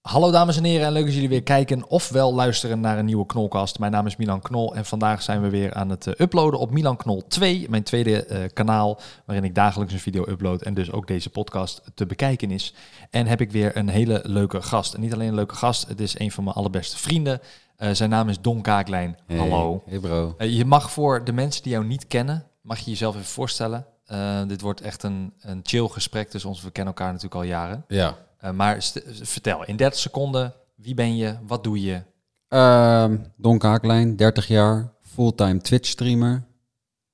Hallo dames en heren en leuk dat jullie weer kijken ofwel luisteren naar een nieuwe Knolcast. Mijn naam is Milan Knol en vandaag zijn we weer aan het eh, uploaden op Milan Knol 2, mijn tweede eh, kanaal waarin ik dagelijks een video upload en dus ook deze podcast te bekijken is. En heb ik weer een hele leuke gast. En niet alleen een leuke gast, het is een van mijn allerbeste vrienden. Eh, zijn naam is Don Kaaklijn. Hey. Hallo. Hey bro. Eh, Je mag voor de mensen die jou niet kennen, mag je jezelf even voorstellen. Eh, dit wordt echt een, een chill gesprek tussen ons. We kennen elkaar natuurlijk al jaren. Ja. Eh, maar st- vertel, in 30 seconden, wie ben je, wat doe je? Ehm, Don Kaaklijn, 30 jaar, fulltime Twitch streamer.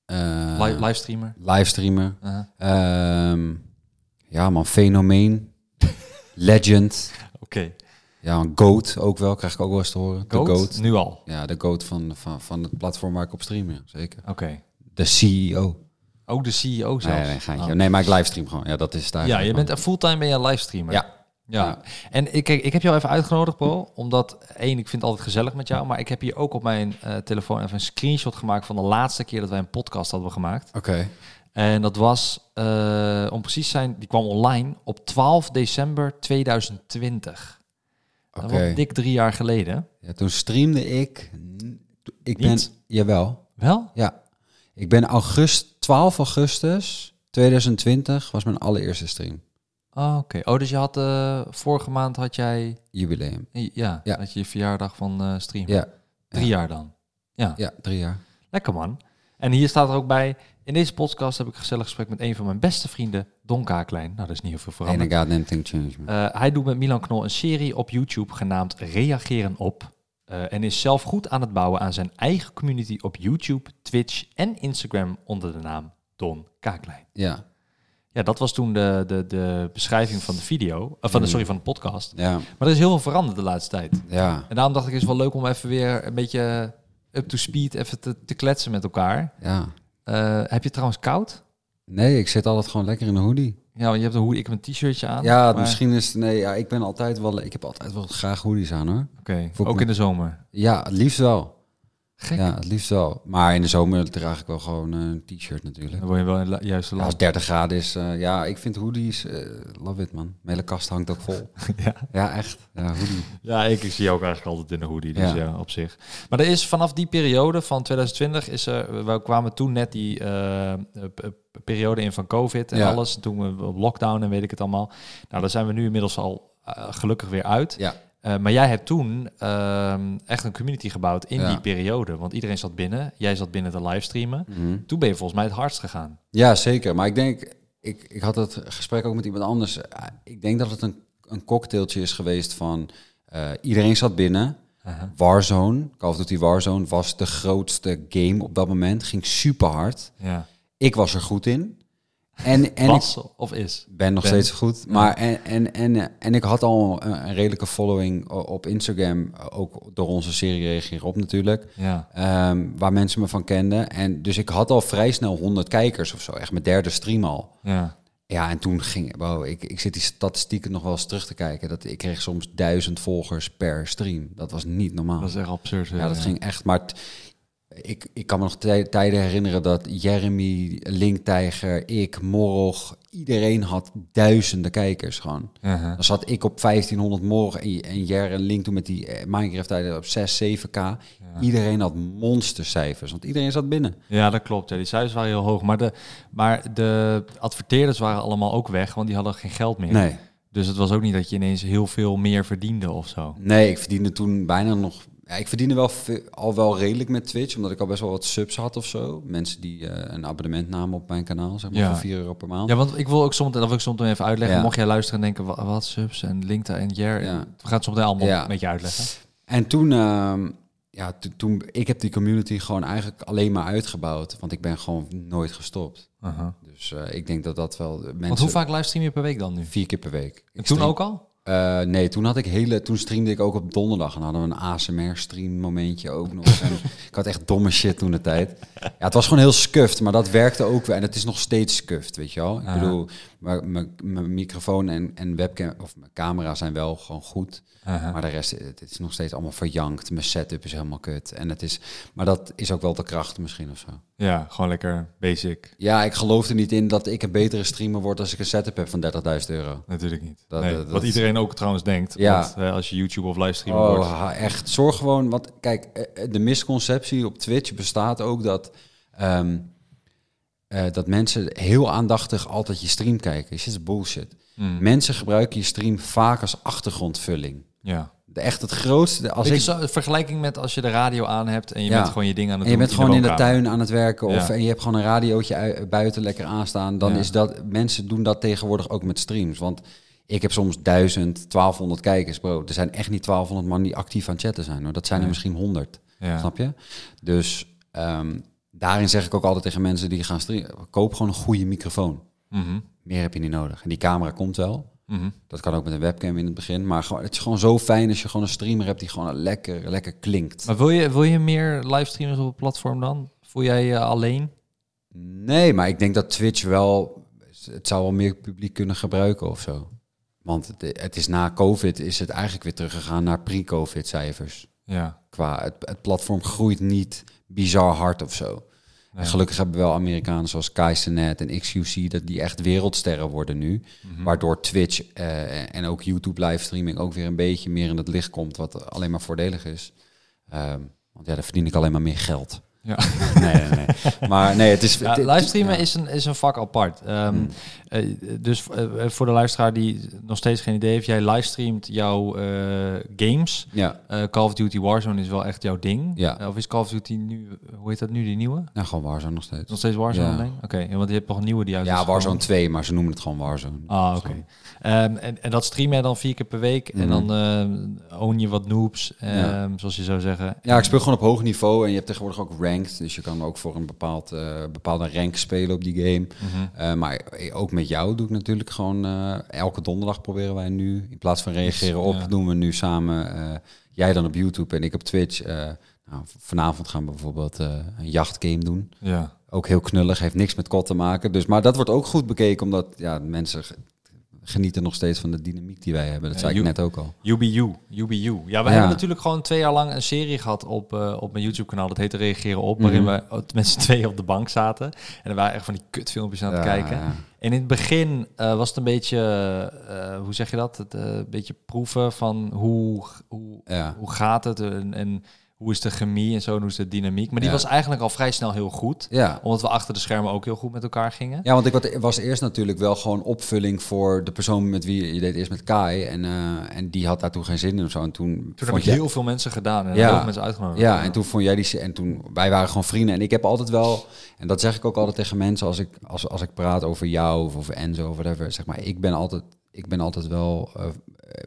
Eh, Li- livestreamer? livestreamer. Uh-huh. Ehm, ja man, fenomeen. Legend. Oké, Ja, een goat ook wel, krijg ik ook wel eens te horen. Goat? De goat. Nu al? Ja, de goat van, van, van het platform waar ik op stream, ja, zeker. Oké. De E CEO. Ook de CEO Nee, zelfs? nee, geintje. Ah. nee, maar ik livestream gewoon. Ja, dat is het Ja, eigenlijk. je man. bent een fulltime ben je een livestreamer. Ja. Ja. Ja. En ik, kijk, ik heb jou even uitgenodigd, Paul, omdat één, ik vind het altijd gezellig met jou, maar ik heb hier ook op mijn eh, telefoon even een screenshot gemaakt van de laatste keer dat wij een podcast hadden gemaakt. Oké. En dat was, eh, om precies te zijn, die kwam online op 12 december 2020. Oké. Dat was dik drie jaar geleden. Ja, toen streamde ik. Ik ben. Niet? Jawel. Wel? Ja. Ik ben august, 12 augustus 2020 was mijn allereerste stream. Oh, oké. Oh, dus je had eh, vorige maand had jij eh, Jubileum. ja, Ja. had je je verjaardag van eh, stream. Ja, Drie jaar dan. Ja. ja, drie jaar. lekker man. En hier staat er ook bij. In deze podcast heb ik een gezellig gesprek met een van mijn beste vrienden, Don Kaaklijn. Nou, dat is niet heel veel En veranderd. ik had anything change. man. Eh, hij doet met Milan Knol een serie op YouTube genaamd Reageren op. eh, en is zelf goed aan het bouwen aan zijn eigen community op YouTube, Twitch en Instagram onder de naam Don Kaaklijn. Ja, Ja, dat was toen de, de, de beschrijving van de video. eh, van de, sorry, van de podcast. ja, Maar er is heel veel veranderd de laatste tijd. ja, En daarom dacht ik, is wel leuk om even weer een beetje up to speed even te, te kletsen met elkaar. ja. Eh, heb je trouwens koud? Nee, ik zit altijd gewoon lekker in de hoodie. Ja, want je hebt een hoed, ik heb een t-shirtje aan. Ja, dus- maar- misschien is het... Nee, ja, ik ben altijd wel... Ik heb altijd wel graag hoodies aan, hoor. Oké, Voel ik ook me- in de zomer. Ja, het liefst wel. Gek. Ja, het liefst wel. Maar in de zomer draag ik wel gewoon eh, een t-shirt natuurlijk. Dan word je wel in de la- juiste Ja, last. als 30 graden is... eh, ja, ik vind hoodies... eh, love it, man. Mijn hele kast hangt ook vol. Ja. Ja, echt. Ja, hoodie. Ja, ik zie je ook eigenlijk altijd in een hoodie, dus Ja. ja. op zich. Maar er is vanaf die periode van 2020 is er, we kwamen toen net die eh, eh, p- periode in van COVID en Ja. alles. Toen we op lockdown en weet ik het allemaal. Nou, daar zijn we nu inmiddels al eh, gelukkig weer uit. Ja. Eh, maar jij hebt toen ehm, echt een community gebouwd in Ja. die periode. Want iedereen zat binnen, jij zat binnen te livestreamen. Mhm. Toen ben je volgens mij het hardst gegaan. Ja, zeker. Maar ik denk, ik, ik had het gesprek ook met iemand anders. Eh, Ik denk dat het een, een cocktailtje is geweest van eh, iedereen zat binnen. Warzone, Call of Duty Warzone was de grootste game op dat moment. Ging super hard. Ja. Ik was er goed in. En, en ik Was of is? ben nog Ben. steeds goed. Maar en, en, en, eh, en ik had al een, een redelijke following o- op Instagram. eh, Ook door onze serie Reageer op natuurlijk. Ja. Ehm, waar mensen me van kenden. En dus ik had al vrij snel 100 kijkers of zo. Echt mijn derde stream al. Ja. Ja, en toen ging... Wow, ik, ik zit die statistieken nog wel eens terug te kijken. Dat, ik kreeg soms duizend volgers per stream. Dat was niet normaal. Dat eh, is echt absurd. ja, dat ging echt... Maar t- ik, ik kan me nog tij- tijden herinneren dat Jeremy, Linktijger, ik, Morg... Iedereen had duizenden kijkers gewoon. Uh-huh. Dan zat ik op 1500 morgen en, en Jer en Link toen met die eh, Minecraft-tijden op 6, 7k. Iedereen had monstercijfers, want iedereen zat binnen. Ja, dat klopt. Ja. Die cijfers waren heel hoog. Maar de, maar de adverteerders waren allemaal ook weg, want die hadden geen geld meer. Nee, Dus het was ook niet dat je ineens heel veel meer verdiende of zo. nee, ik verdiende toen bijna nog... Ja, ik verdiende wel ve- al wel redelijk met Twitch, omdat ik al best wel wat subs had of zo. Mensen die eh, een abonnement namen op mijn kanaal, zeg maar, Ja. voor 4 euro per maand. Ja, want ik wil ook soms, en dat wil ik soms nog even uitleggen. Ja. Mocht jij luisteren en denken, wa- wat subs en LinkedIn en Jer. Ja. We gaan het soms allemaal Ja. een beetje uitleggen. En toen, ehm, ja, to- toen, ik heb die community gewoon eigenlijk alleen maar uitgebouwd, want ik ben gewoon nooit gestopt. Uh-huh. Dus eh, ik denk dat dat wel mensen... Want hoe vaak livestream je per week dan nu? Vier keer per week. Ik En toen stream- ook al? Eh, nee, toen had ik hele, toen streamde ik ook op donderdag en hadden we een ASMR stream momentje ook nog. en ik had echt domme shit toen de tijd. Ja, het was gewoon heel scuffed, maar dat werkte ook wel. En het is nog steeds scuffed, weet je wel. Ik Aha. bedoel, mijn- mijn mijn microfoon en, en webcam of mijn camera zijn wel gewoon goed, Uh-huh. maar de rest, het is nog steeds allemaal verjankt. Mijn setup is helemaal kut en het is, maar dat is ook wel de kracht misschien of zo. Ja, gewoon lekker basic. Ja, ik geloof er niet in dat ik een betere streamer word als ik een setup heb van 30.000 euro. Natuurlijk niet. Dat- Nee, dat- dat- wat iedereen ook trouwens denkt. Ja. Want, eh, als je YouTube of livestreamer Oh, wordt. ha- echt. Zorg gewoon, want kijk, eh, eh, de misconceptie op Twitch bestaat ook dat, ehm, eh, dat mensen heel aandachtig altijd je stream kijken. Is is bullshit. Mm. Mensen gebruiken je stream vaak als achtergrondvulling. Ja. De, echt het grootste. Als ik, ik, zo- vergelijking met als je de radio aan hebt en je Ja. bent gewoon je ding aan het en je doen. bent gewoon in de woonkamer. tuin aan het werken of Ja. en je hebt gewoon een radiootje ui- buiten lekker aanstaan, dan Ja. is dat. Mensen doen dat tegenwoordig ook met streams. Want ik heb soms 1000, 1200 kijkers, bro. Er zijn echt niet 1200 man die actief aan het chatten zijn hoor. Dat zijn er Nee. misschien 100. Ja. Snap je? Dus ehm, daarin zeg ik ook altijd tegen mensen die gaan streamen: koop gewoon een goede microfoon. Mhm, Meer heb je niet nodig. En die camera komt wel. mhm. Dat kan ook met een webcam in het begin. Maar gewoon, het is gewoon zo fijn als je gewoon een streamer hebt die gewoon lekker, lekker klinkt. Maar wil je, wil je meer livestreamers op het platform dan? Voel jij je alleen? Nee, maar ik denk dat Twitch wel... Het zou wel meer publiek kunnen gebruiken of zo. Want het, het is na COVID is het eigenlijk weer teruggegaan naar pre-COVID cijfers. Ja. Qua het, het platform groeit niet bizar hard of zo. En Nee. gelukkig hebben we wel Amerikanen zoals Kaizenet en XQC... dat die echt wereldsterren worden nu. Mhm. Waardoor Twitch eh, en ook YouTube livestreaming ook weer een beetje meer in het licht komt... wat alleen maar voordelig is. Ehm, want ja, daar verdien ik alleen maar meer geld. Ja. Nee, nee, nee. Maar nee, het is... Ja, het- Eh, livestreamen ja. is, een, is een vak apart. Ehm, Hmm. eh, dus eh, voor de luisteraar die nog steeds geen idee heeft, jij livestreamt jouw eh, games. Ja, Eh, Call of Duty Warzone is wel echt jouw ding. Ja. Eh, of is Call of Duty nu, eh, hoe heet dat nu, die nieuwe? nou gewoon Warzone nog steeds. Nog steeds Warzone Ja. alleen? Oké, en want je hebt nog een nieuwe die uit is Ja, gekomen. Warzone 2, maar ze noemen het gewoon Warzone. Ah, oké. Zo. Ehm, en, en dat stream jij dan vier keer per week en dan ehm, own je wat noobs, ehm, Mhm. Ja. zoals je zou zeggen. Ja, ik speel gewoon op hoog niveau en je hebt tegenwoordig ook ranked. Dus je kan ook voor een bepaald, eh, bepaalde rank spelen op die game. Mhm. Eh, maar ook met jou doe ik natuurlijk gewoon... eh, elke donderdag proberen wij nu, in plaats van reageren op... Ja. doen we nu samen, eh, jij dan op YouTube en ik op Twitch. eh, nou, v- vanavond gaan we bijvoorbeeld eh, een jachtgame doen. Ja. Ook heel knullig, heeft niks met kot te maken. Dus, maar dat wordt ook goed bekeken, omdat ja, mensen ge- genieten nog steeds van de dynamiek die wij hebben. Dat Ja, zei ik you- net ook al. UBU, UBU. Ja, we Ja. hebben natuurlijk gewoon twee jaar lang een serie gehad op, eh, op mijn YouTube-kanaal. Dat heette Reageren Op, Mhm. waarin we met z'n tweeën op de bank zaten. En er waren echt van die kutfilmpjes aan het Ja, kijken. ja. En in het begin eh, was het een beetje, eh, hoe zeg je dat? Het, eh, een beetje proeven van hoe, hoe, Ja. hoe gaat het en, en hoe is de chemie en zo, en hoe is de dynamiek. Maar die Ja. was eigenlijk al vrij snel heel goed. Ja. Omdat we achter de schermen ook heel goed met elkaar gingen. ja, want ik wat- was eerst natuurlijk wel gewoon opvulling voor de persoon met wie je- je deed eerst met Kai. En, eh, en die had daar toen geen zin in of zo. En toen, Toen vond heb ik jij- heel veel mensen gedaan en Ja. heel veel mensen uitgenodigd. Ja, en toen vond jij die. se- En toen wij waren gewoon vrienden. En ik heb altijd wel. En dat zeg ik ook altijd tegen mensen als ik, als, als ik praat over jou of over Enzo of whatever. Zeg maar, ik ben altijd. Ik ben altijd wel. eh,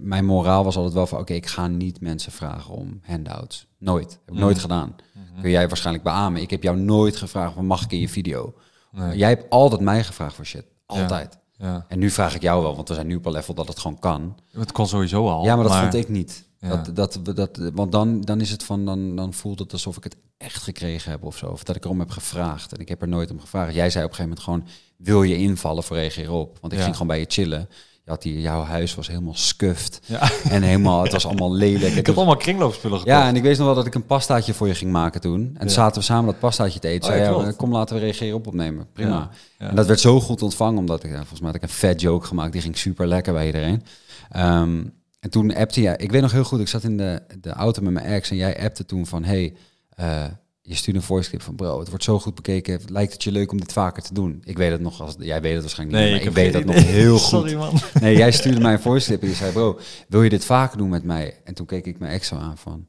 mijn moraal was altijd wel van: oké, ik ga niet mensen vragen om handouts. Nooit. Heb ik nooit Mhm. gedaan. Kun jij waarschijnlijk beamen. Ik heb jou nooit gevraagd: van, mag ik in je video? Nee. Jij hebt altijd mij gevraagd voor shit. Altijd. Ja. En nu vraag ik jou wel, want we zijn nu op een level dat het gewoon kan. Het kon sowieso al. Ja, maar dat vond ik niet. Ja. Dat, dat, we- dat, want dan, dan is het van, dan, dan voelt het alsof ik het echt gekregen heb of zo. Of dat ik erom heb gevraagd. En ik heb er nooit om gevraagd. Jij zei op een gegeven moment gewoon, wil je invallen voor reageer op? Want ik Ja. ging gewoon bij je chillen. Je had die, jouw huis was helemaal scuffed. Ja. En helemaal, het was allemaal lelijk. Ik had allemaal kringloopspullen gekocht. Ja, en ik weet nog wel dat ik een pastaatje voor je ging maken toen. En toen Ja. zaten we samen dat pastaatje te Oh, eten. ja, Zei, ja, klopt. kom, laten we reageren op opnemen. Prima. Ja, ja. En dat werd zo goed ontvangen, omdat ik, ja, volgens mij had ik een fat joke gemaakt. Die ging super lekker bij iedereen. Ehm, en toen appte jij, ik weet nog heel goed, ik zat in de, de auto met mijn ex en jij appte toen van, hey, eh, je stuurde een voice clip van, bro, het wordt zo goed bekeken. Lijkt het je leuk om dit vaker te doen? Ik weet het nog, als, jij weet het waarschijnlijk niet, maar ik, heb weet dat geen nog idee. heel goed. Sorry man. Nee, jij stuurde mij een voice clip en die zei, bro, wil je dit vaker doen met mij? En toen keek ik mijn ex zo aan van,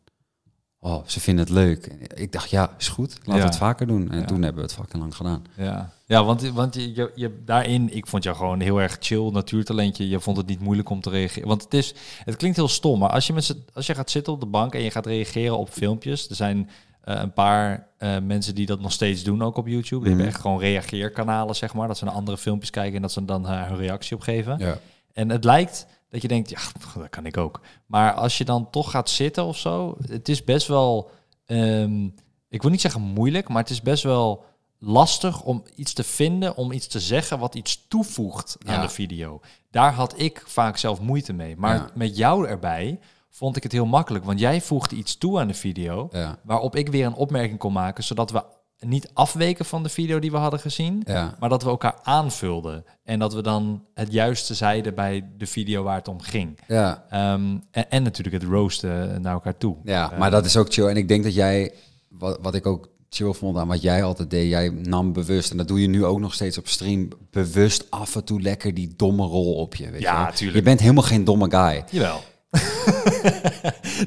oh, ze vinden het leuk. En ik dacht, ja, is goed, laten Ja. we het vaker doen. En Ja. toen hebben we het fucking lang gedaan. Ja, ja want, want je, je, je- daarin, ik vond jou gewoon heel erg chill, natuurtalentje. Je vond het niet moeilijk om te reageren. Want het, is, het klinkt heel stom, maar als je, met z'n- als je gaat zitten op de bank en je gaat reageren op filmpjes, er zijn eh, een paar eh, mensen die dat nog steeds doen, ook op YouTube. Die hebben echt gewoon reageerkanalen, zeg maar. Dat ze naar andere filmpjes kijken en dat ze dan haar hun reactie op geven. Ja. En het lijkt dat je denkt, ja, pff, dat kan ik ook. Maar als je dan toch gaat zitten of zo, het is best wel, ehm, ik wil niet zeggen moeilijk, maar het is best wel lastig om iets te vinden, om iets te zeggen wat iets toevoegt aan Ja. de video. Daar had ik vaak zelf moeite mee. Maar Ja. met jou erbij vond ik het heel makkelijk, want jij voegde iets toe aan de video, Ja. waarop ik weer een opmerking kon maken, zodat we niet afweken van de video die we hadden gezien, Ja. maar dat we elkaar aanvulden. En dat we dan het juiste zeiden bij de video waar het om ging. Ja. Ehm, en, en natuurlijk het roosten eh, naar elkaar toe. Ja, maar dat is ook chill. En ik denk dat jij, wat, wat ik ook chill vond aan wat jij altijd deed, jij nam bewust, en dat doe je nu ook nog steeds op stream, bewust af en toe lekker die domme rol op je. Weet Ja, je, wel. tuurlijk. Je bent helemaal geen domme guy. Jawel.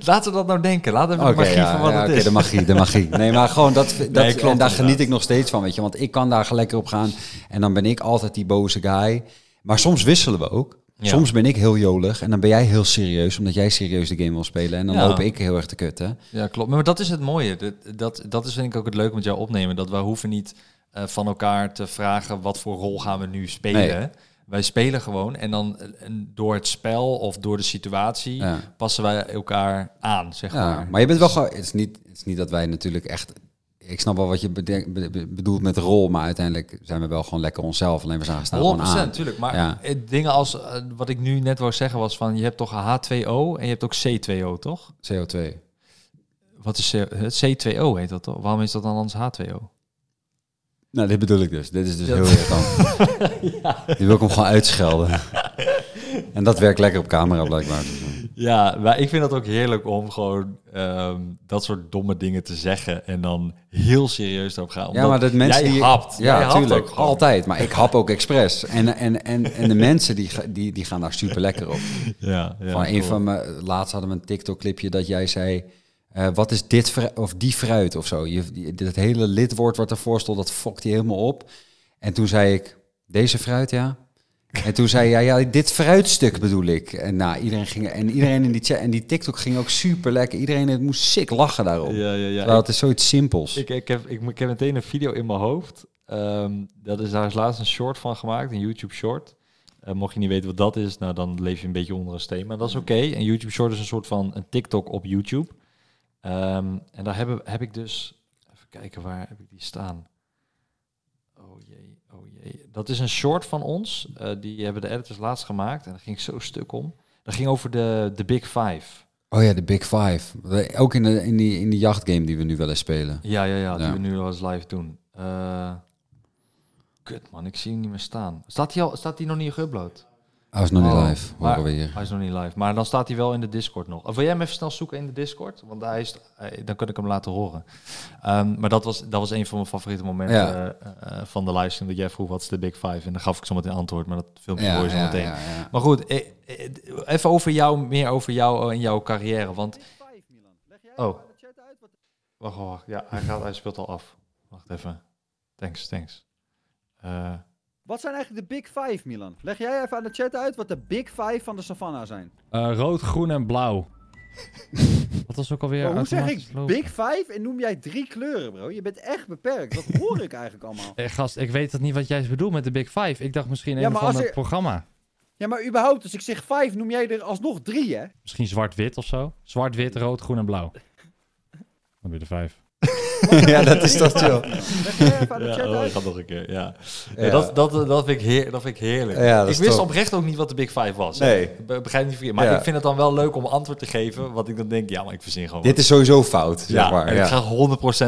Laten we dat nou denken. Laten we de Oké, magie ja, van wat ja, het oké, is. de magie, de magie. Nee, maar gewoon dat, dat klopt, en daar inderdaad. geniet ik nog steeds van, weet je. Want ik kan daar lekker op gaan en dan ben ik altijd die boze guy. Maar soms wisselen we ook. Ja. Soms ben ik heel jolig en dan ben jij heel serieus, omdat jij serieus de game wil spelen. En dan Ja. loop ik heel erg te kutten. Ja, klopt. Maar dat is het mooie. Dat, dat, dat is vind ik ook het leuke met jou opnemen. Dat wij hoeven niet eh, van elkaar te vragen wat voor rol gaan we nu spelen. Nee. Wij spelen gewoon en dan eh, en door het spel of door de situatie Ja. passen wij elkaar aan, zeg Ja, maar. maar je bent wel gewoon. Het is, niet, het is niet dat wij natuurlijk echt. Ik snap wel wat je bedenkt- be- be- bedoelt met rol, maar uiteindelijk zijn we wel gewoon lekker onszelf. Alleen we zijn staan gewoon 100% aan. natuurlijk. Maar Ja. eh, dingen als eh, wat ik nu net wou zeggen was van je hebt toch H2O en je hebt ook C2O, toch? CO2. Wat is C- het C2O heet dat toch? Waarom is dat dan anders H2O? Nou, dit bedoel ik dus. Dit is dus Ja. heel irritant. Die wil ik hem gewoon uitschelden. en dat werkt lekker op camera blijkbaar. Ja, maar ik vind dat ook heerlijk om gewoon ehm, dat soort domme dingen te zeggen en dan heel serieus daarop gaan. Ja, maar dat mensen jij die hapt. ja, Jij hapt tuurlijk, ook gewoon. altijd. Maar ik hap ook expres. En, en, en, en de mensen die, ga- die, die gaan daar super lekker op. Ja, ja, van een klopt. van mijn laatst hadden we een TikTok clipje dat jij zei eh, wat is dit fru- of die fruit of zo. Je, die- dat hele lidwoord wat ervoor stond dat fokt hij helemaal op. En toen zei ik deze fruit ja. En toen zei jij ja dit fruitstuk bedoel ik. En nou iedereen ging en iedereen in die chat en die TikTok ging ook super lekker. Iedereen het moest sick lachen daarop. Ja, ja, ja. Terwijl het is zoiets simpels. Ik, ik, heb, ik, ik heb meteen een video in mijn hoofd. Ehm, dat is, daar is laatst een short van gemaakt, een YouTube short. Eh, mocht je niet weten wat dat is, nou dan leef je een beetje onder een steen. Maar dat is oké. Een YouTube short is een soort van een TikTok op YouTube. Ehm, en daar heb, heb ik dus... Even kijken, waar heb ik die staan? Oh jee, oh jee. Dat is een short van ons. Eh, die hebben de editors laatst gemaakt. En daar ging ik zo stuk om. Dat ging over de, de Big Five. Oh ja, de Big Five. Ook in, de, in, die, in die jachtgame die we nu wel eens spelen. Ja, ja, ja, die Ja. we nu wel eens live doen. Eh, kut man, ik zie hem niet meer staan. Staat hij, al, staat hij nog niet geüpload? Oh, is nog niet Oh, live. maar- Horen we hier. Hij is nog niet live, maar dan staat hij wel in de Discord nog. Of wil jij hem even snel zoeken in de Discord? Want hij is, eh, dan kan ik hem laten horen. Ehm, maar dat was, dat was een van mijn favoriete momenten Ja. eh, eh, van de livestream. Dat jij vroeg, wat is de Big Five? En dan gaf ik zo meteen antwoord, maar dat filmpje Ja, hoor je zo ja, meteen. ja, ja. Maar goed, eh, eh, even over jou, meer over jou en jouw carrière. Want. Oh. Wacht, wacht, wacht. Ja, hij, gaat, hij speelt al af. Wacht even. Thanks, thanks. Eh, Wat zijn eigenlijk de Big Five, Milan? Leg jij even aan de chat uit wat de Big Five van de Savannah zijn. Eh, rood, groen en blauw. Wat was ook alweer Bro, hoe zeg automatisch ik lopen? Big Five en noem jij drie kleuren, bro? Je bent echt beperkt. Wat hoor ik eigenlijk allemaal? Eh, gast, ik weet het niet wat jij bedoelt met de Big Five. Ik dacht misschien Ja, een maar van als het er- programma. Ja, maar überhaupt, als ik zeg vijf, noem jij er alsnog drie, hè? Misschien zwart-wit of zo. Zwart-wit, rood, groen en blauw. Dan weer de vijf. ja, dat is toch chill. Leg jij even aan de ja, chat oh, dat uit. gaat nog een keer. Ja. Ja. Ja, dat, dat, dat, vind ik heer, dat vind ik heerlijk. Ja, dat ik is wist top. oprecht ook niet wat de Big Five was. hè. Nee. Be- begrijp niet verkeerd. Maar Ja. ik vind het dan wel leuk om antwoord te geven. Wat ik dan denk, ja, maar ik verzin gewoon. Dit wat. is sowieso fout, zeg ja, maar. en Ja. Ik ga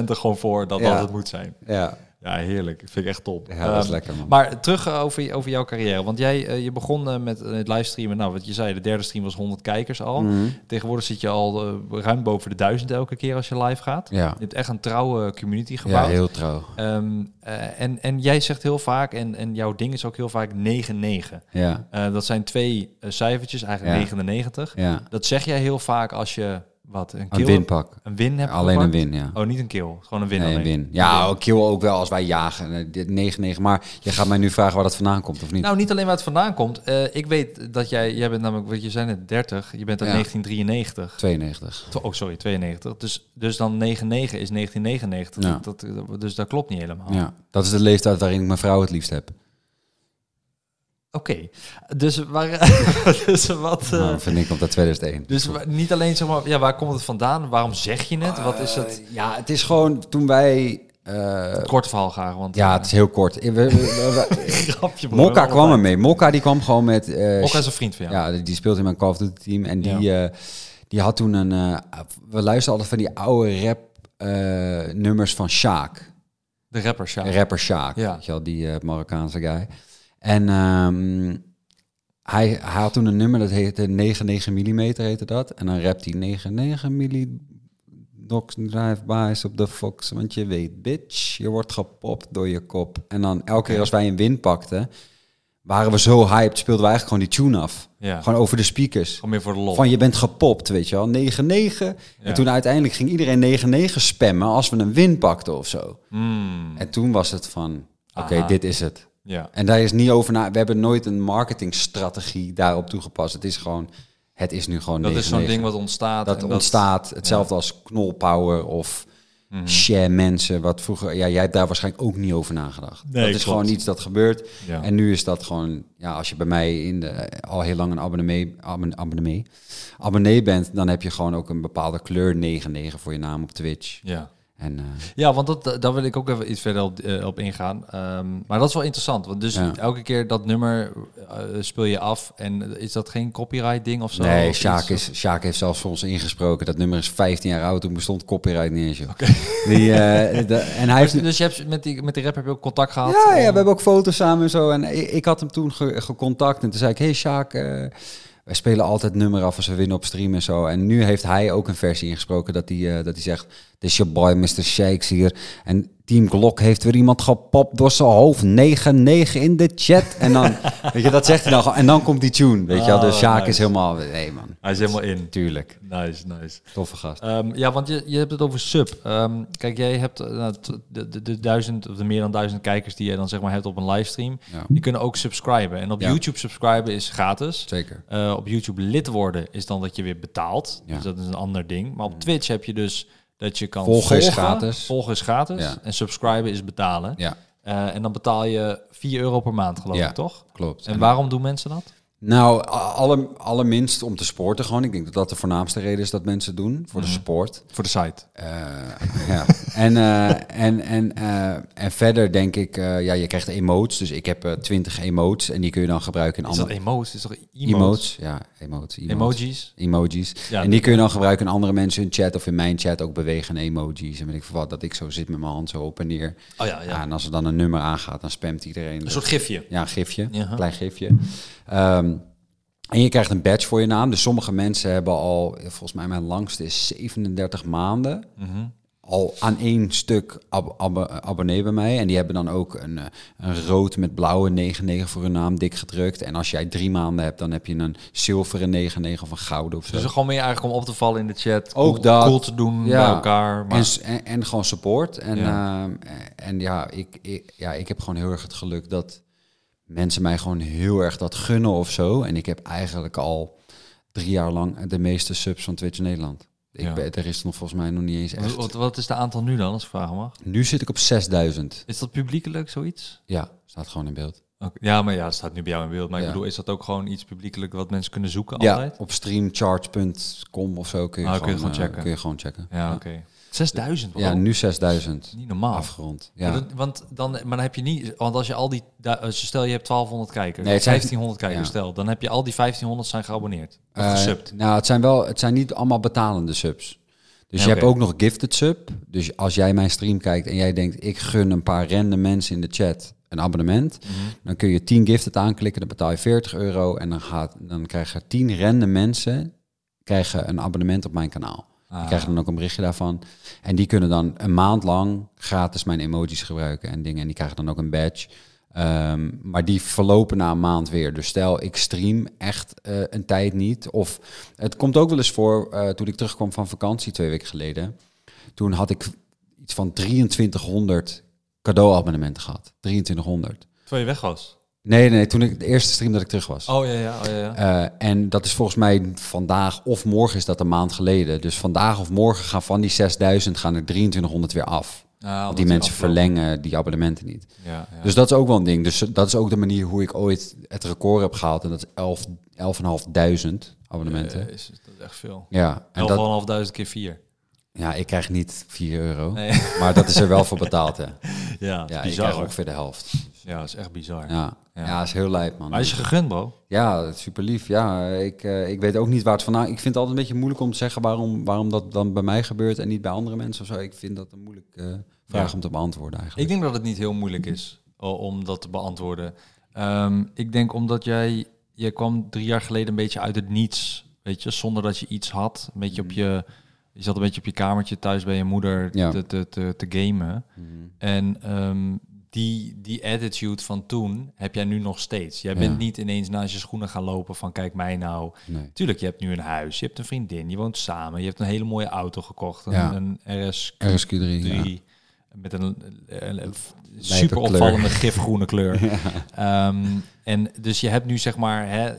100% er gewoon voor dat Ja. dat het moet zijn. Ja. Ja, heerlijk. Vind ik echt top. Ja, dat is Ehm, lekker, man. Maar terug eh, over, je- over jouw carrière. Want jij eh, je begon eh, met eh, het livestreamen. Nou, wat je zei, de derde stream was 100 kijkers al. Mhm. Tegenwoordig zit je al eh, ruim boven de duizend elke keer als je live gaat. Ja. Je hebt echt een trouwe community gebouwd. ja, heel trouw. Ehm, eh, en, en jij zegt heel vaak, en, en jouw ding is ook heel vaak 99. Ja, Eh, dat zijn twee eh, cijfertjes, eigenlijk Ja. 99. ja. Dat zeg jij heel vaak als je wat een kill Een winpak. een win hebt. Alleen een gepakt. win, ja. Oh, niet een kill, gewoon een win. Nee, een alleen. win. Ja, ook kill ook wel als wij jagen. Eh, dit 9-9. Maar je gaat mij nu vragen waar dat vandaan komt, of niet? Nou, niet alleen waar het vandaan komt. Eh, ik weet dat jij, jij bent namelijk, wat je zei net, 30. Je bent uit Ja. 1993. 92. Tw- Oh, sorry, 92. Dus, dus dan 99 is 1999. Ja. Dat, dat- dus dat klopt niet helemaal. Ja, dat is de leeftijd waarin ik mijn vrouw het liefst heb. Eh. Oké. Dus, waar, dus wat... eh, Nou, vind ik op dat 2001. dus wa- niet alleen zeg maar, ja, waar komt het vandaan? Waarom zeg je het? Wat is het? Eh, ja, het is gewoon toen wij... eh, Kort verhaal graag, want eh, ja, het is heel kort. We- we- we- we- grapje. bro. Mokka Wat kwam een- ermee. Mokka die kwam gewoon met... eh, Mokka is een vriend van jou. Ja, die- die speelt in mijn Call of Duty team. En die, eh, die had toen een... eh, we luisterden altijd van die oude rap eh, nummers van Sjaak. De rapper, ja. rapper Sjaak, Ja. weet je wel, die eh, Marokkaanse guy. En ehm, hij, hij had toen een nummer dat heette 99 mm heette dat. En dan rapt hij 99 mm knocks drive-bys op de Fox, want je weet, bitch, je wordt gepopt door je kop. En dan elke keer als wij een win pakten, waren we zo hyped, speelden we eigenlijk gewoon die tune af. Ja. Gewoon over de speakers. Gewoon meer voor de lol. Van je bent gepopt, weet je wel. 9-9. Ja. En toen uiteindelijk ging iedereen 9-9 spammen als we een win pakten of zo. Mm, En toen was het van, oké, Aha. dit is het. ja. En daar is niet over na. We hebben nooit een marketingstrategie daarop toegepast. Het is gewoon, het is nu gewoon. Dat is zo'n 9-9. ding wat ontstaat. Dat en ontstaat. Hetzelfde als knolpower of Mhm. share mensen. Wat vroeger, ja, jij hebt daar waarschijnlijk ook niet over nagedacht. Nee, dat is klopt. gewoon iets dat gebeurt. Ja. En nu is dat gewoon, ja, als je bij mij in de, al heel lang een abonnee, abon- abonnee, abonnee bent, dan heb je gewoon ook een bepaalde kleur 9-9 voor je naam op Twitch. Ja. En eh, Ja, want dat, daar wil ik ook even iets verder op, eh, op ingaan. Ehm, maar dat is wel interessant. Want dus Ja. elke keer dat nummer eh, speel je af. En is dat geen copyright ding of zo? nee, Of Sjaak, iets? is, Sjaak heeft zelfs voor ons ingesproken. Dat nummer is 15 jaar oud. Toen bestond copyright niet eens, joh. Die, eh, de- en hij heeft... Dus, dus je hebt met die, met die rap heb je ook contact gehad? Ja, ja, we om- hebben ook foto's samen en zo. En i- ik, had hem toen ge- gecontact. En toen zei ik, hey Sjaak, eh, wij spelen altijd nummer af als we winnen op stream en zo. En nu heeft hij ook een versie ingesproken dat hij, eh, dat hij zegt... Dit is je boy, Mr. Shakes hier. En Team Glock heeft weer iemand gepopt door zijn hoofd. 9-9 in de chat. En dan, weet je, dat zegt hij dan gewoon. En dan komt die tune, weet je wel. Dus Oh, Sjaak nice. is helemaal... Nee, man. Hij is helemaal in. Tuurlijk. Nice, nice. Toffe gast. Ehm, ja, want je, je hebt het over sub. Ehm, kijk, jij hebt eh, nou, t- de, de, de duizend of de meer dan duizend kijkers die je dan zeg maar hebt op een livestream. Ja. Die kunnen ook subscriben. En op Ja. YouTube subscriben is gratis. Zeker. Eh, op YouTube lid worden is dan dat je weer betaalt. Ja. Dus dat is een ander ding. Maar op Twitch heb je dus dat je kan Volgen is gratis. Volgen is gratis. Ja. En subscriben is betalen. Ja, Eh, en dan betaal je 4 euro per maand, geloof Ja. ik, toch? klopt. En waarom doen mensen dat? Nou, a- alle, allerminst om te sporten gewoon. Ik denk dat dat de voornaamste reden is dat mensen het doen. Voor de Mhm. sport. Voor de site. Eh, ja. En, eh, en, en, eh, en verder denk ik... eh, ja, je krijgt emotes. Dus ik heb twintig emotes. En die kun je dan gebruiken in Is dat andere... emotes? Is toch emotes? Emotes? Ja, emotes. emotes. Emojis? Emojis. Ja, en die kun je dan gebruiken in andere mensen hun chat of in mijn chat ook bewegen emojis. En weet ik veel wat, dat ik zo zit met mijn hand zo op en neer. Oh ja, ja. Ja. en als er dan een nummer aangaat, dan spamt iedereen. Een soort gifje. Ja, een gifje. Ja. Klein gifje. Ehm, en je krijgt een badge voor je naam. Dus sommige mensen hebben al, volgens mij mijn langste is 37 maanden. Al aan één stuk ab- abbe- abonnee bij mij. En die hebben dan ook een, eh, een rood met blauwe 99 voor hun naam dik gedrukt. En als jij drie maanden hebt, dan heb je een zilveren 99 of een gouden of zo. Dus er gewoon meer eigenlijk om op te vallen in de chat. Ook cool, dat. cool te doen Ja. bij elkaar. Maar En, s- en, en gewoon support. En Ja. ja, en ja ik, ik, ja, ik heb gewoon heel erg het geluk dat mensen mij gewoon heel erg dat gunnen of zo. En ik heb eigenlijk al drie jaar lang de meeste subs van Twitch Nederland. Ik Ja. ben, er is nog volgens mij nog niet eens wat, echt. wat- wat is de aantal nu dan, als ik vragen mag? Nu zit ik op 6000. Is dat publiekelijk zoiets? Ja, staat gewoon in beeld. Oké. Ja, maar ja, het staat nu bij jou in beeld. Maar ik Ja. bedoel, is dat ook gewoon iets publiekelijk wat mensen kunnen zoeken Ja, altijd? op streamcharge.com of zo kun je, Ah, kun gewoon, je gewoon eh, checken. kun je gewoon checken. Ja, oké. 6000, Ja, bro. nu 6000. Niet normaal. Afgerond. Maar Ja. dat- want dan, maar dan heb je niet, want als je al die, du- als je stel je hebt 1200 kijkers, Nee, het zijn- 1500 kijkers, Ja. stel, dan heb je al die 1500 zijn geabonneerd, of Eh, gesubt. nou, het zijn wel, het zijn niet allemaal betalende subs. Dus Ja, je oké. hebt ook nog gifted sub. Dus als jij mijn stream kijkt en jij denkt, ik gun een paar random mensen in de chat een abonnement, Mhm. dan kun je 10 gifted aanklikken, dan betaal je 40 euro en dan, gaat, dan krijgen 10 random mensen krijgen een abonnement op mijn kanaal. Ah. Die krijgen dan ook een berichtje daarvan. En die kunnen dan een maand lang gratis mijn emojis gebruiken en dingen. En die krijgen dan ook een badge. Ehm, maar die verlopen na een maand weer. Dus stel, ik stream echt eh, een tijd niet. Of het komt ook wel eens voor, eh, toen ik terugkwam van vakantie twee weken geleden. Toen had ik iets van 2300 cadeauabonnementen gehad. 2300. Terwijl je weg was. Nee, nee, toen ik de eerste stream dat ik terug was. Oh ja, ja, oh, ja, ja. Eh, en dat is volgens mij vandaag of morgen is dat een maand geleden. Dus vandaag of morgen gaan van die 6000 gaan er 2300 weer af. Ah, omdat Want die mensen afgelopen- verlengen die abonnementen niet. Ja, ja. Dus dat is ook wel een ding. Dus dat is ook de manier hoe ik ooit het record heb gehaald. En dat is 11 11.500 abonnementen. Eh, is, dat is echt veel. ja, en dat, 11.500 keer 4. ja, ik krijg niet 4 euro. Nee. Maar dat is er wel voor betaald. Hè. Ja, Ja, ik bizar. krijg hoor. ongeveer de helft. Ja, dat is echt bizar. Ja, Ja. ja. is heel lijp, man. Maar is je gegund, bro? Ja, super lief. Ja, ik, eh, ik weet ook niet waar het vandaan... Ik vind het altijd een beetje moeilijk om te zeggen waarom, waarom dat dan bij mij gebeurt en niet bij andere mensen of zo. Ik vind dat een moeilijk eh, vraag Ja. om te beantwoorden Ik eigenlijk. denk dat het niet heel moeilijk is o- om dat te beantwoorden. Ehm, ik denk omdat jij, jij kwam drie jaar geleden een beetje uit het niets, weet je, zonder dat je iets had. Een beetje op je, je zat een beetje op je kamertje thuis bij je moeder Mhm. Ja. te, te, te, te gamen. Mhm. En ehm, die, die attitude van toen heb jij nu nog steeds. Jij Ja. bent niet ineens naast je schoenen gaan lopen van kijk mij nou. Nee. Tuurlijk, je hebt nu een huis, je hebt een vriendin, je woont samen, je hebt een hele mooie auto gekocht, een, Ja. een RS RSQ3, ja. drie. Met een, een- een super opvallende gifgroene kleur. Ehm, en dus je hebt nu zeg maar hè,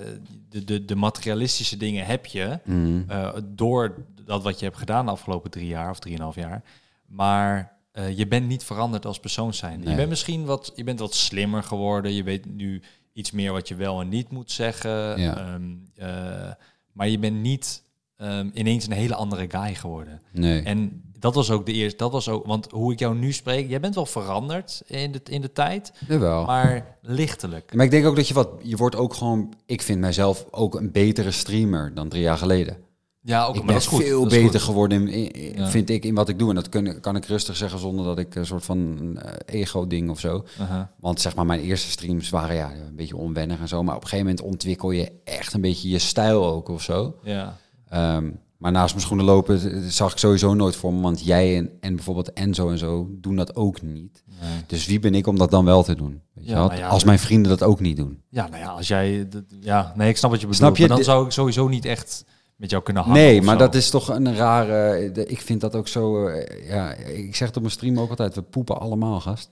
de, de, de materialistische dingen heb je Mhm. eh, door dat wat je hebt gedaan de afgelopen drie jaar of drieënhalf jaar. Maar eh, je bent niet veranderd als persoon zijn. Je Nee. bent misschien wat, je bent wat slimmer geworden. Je weet nu iets meer wat je wel en niet moet zeggen. Ja. Ehm, eh, maar je bent niet ehm, ineens een hele andere guy geworden. Nee. En dat was ook de eerste, dat was ook, want hoe ik jou nu spreek, jij bent wel veranderd in de, in de tijd, Jawel. maar lichtelijk. Maar ik denk ook dat je wat, je wordt ook gewoon, ik vind mijzelf ook een betere streamer dan drie jaar geleden. Ja, ook, ik maar ben dat is goed. veel dat is beter goed. geworden, in, in- Ja. vind ik, in wat ik doe. En dat kun, kan ik rustig zeggen zonder dat ik een soort van eh, ego-ding of zo. Aha. Want zeg maar, mijn eerste streams waren ja, een beetje onwennig en zo. Maar op een gegeven moment ontwikkel je echt een beetje je stijl ook of zo. Ja, Ehm, maar naast mijn schoenen lopen eh, zag ik sowieso nooit voor me. Want jij en, en bijvoorbeeld Enzo en zo doen dat ook niet. nee. Dus wie ben ik om dat dan wel te doen? Weet je Ja, wel? nou ja, Als mijn vrienden dat ook niet doen. ja, nou ja, als jij, dat- ja, nee, ik snap wat je bedoelt, Snap je? maar dan Dit- zou ik sowieso niet echt met jou kunnen hangen. nee, of maar zo. dat is toch een rare... eh, de- Ik vind dat ook zo... eh, Ja, ik zeg het op mijn stream ook altijd. We poepen allemaal, gast.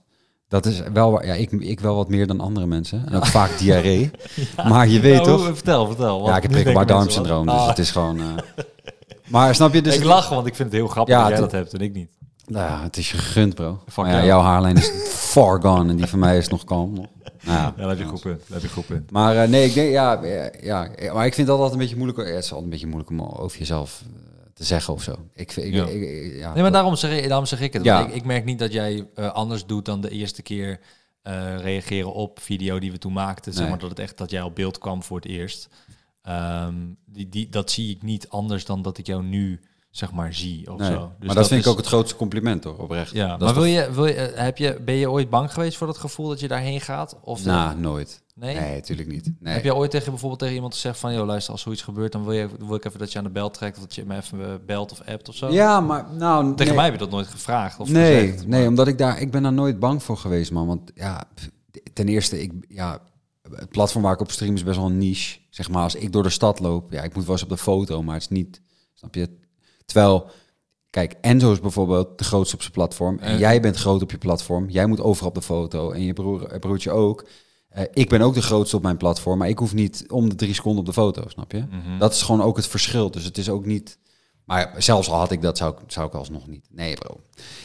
Dat is wel... waar- Ja, ik, ik wel wat meer dan andere mensen. En ook vaak diarree. Maar je weet Nou, toch... Vertel, vertel. want Ja, ik heb nu denken prikkelbaar mensen, wat- darmsyndroom. Dus Ah, het is gewoon... eh, Maar snap je? Dus ik lach, want ik vind het heel grappig Ja, dat jij het- dat hebt en ik niet. Nou ja, het is je gegund, bro. Fuck Maar ja, jou. jouw haarlijn is far gone en die van mij is nog kalm. Nou, ja. Ja, dat heb je een goed punt. Dat heb je een goed punt. Maar eh, nee, ik denk, ja, ja, ja, eh, maar ik vind dat altijd een beetje moeilijk. Het is altijd een beetje moeilijk om over jezelf eh, te zeggen of zo. Ik, vind- ik, Ja. ik- ik- ja, Nee, maar daarom zeg, ik- daarom zeg ik het. Ja. Want Ik, ik merk niet dat jij eh, anders doet dan de eerste keer eh, reageren op video die we toen maakten. Zeg Nee. maar dat het echt dat jij op beeld kwam voor het eerst. Ehm, die, die, dat zie ik niet anders dan dat ik jou nu zeg maar zie of nee. zo. Dus maar dat, vind is- ik ook het grootste compliment, hoor, oprecht. Ja, Dat maar is wil je, wil je, eh, heb je, ben je ooit bang geweest voor dat gevoel dat je daarheen gaat? Of toch- Nou, nooit. nee? Nee, natuurlijk niet. Nee. Heb jij ooit tegen bijvoorbeeld tegen iemand gezegd van, joh, luister, als zoiets gebeurt, dan wil, je, wil ik even dat je aan de bel trekt, of dat je me even eh, belt of appt of zo? Ja, maar nou... Tegen nee. mij heb je dat nooit gevraagd of nee, gezegd. nee, omdat ik daar, ik ben daar nooit bang voor geweest, man. Want ja, pff, ten eerste, ik, ja, het platform waar ik op stream is best wel een niche. Zeg maar, als ik door de stad loop, ja, ik moet wel eens op de foto, maar het is niet, snap je? Terwijl, kijk, Enzo is bijvoorbeeld de grootste op zijn platform. En Eh. jij bent groot op je platform. Jij moet overal op de foto. En je broer, eh, broertje ook. Eh, ik ben ook de grootste op mijn platform, maar ik hoef niet om de drie seconden op de foto, snap je? Mhm. Dat is gewoon ook het verschil. Dus het is ook niet. Maar zelfs al had ik dat, zou ik, zou ik alsnog niet. Nee, bro.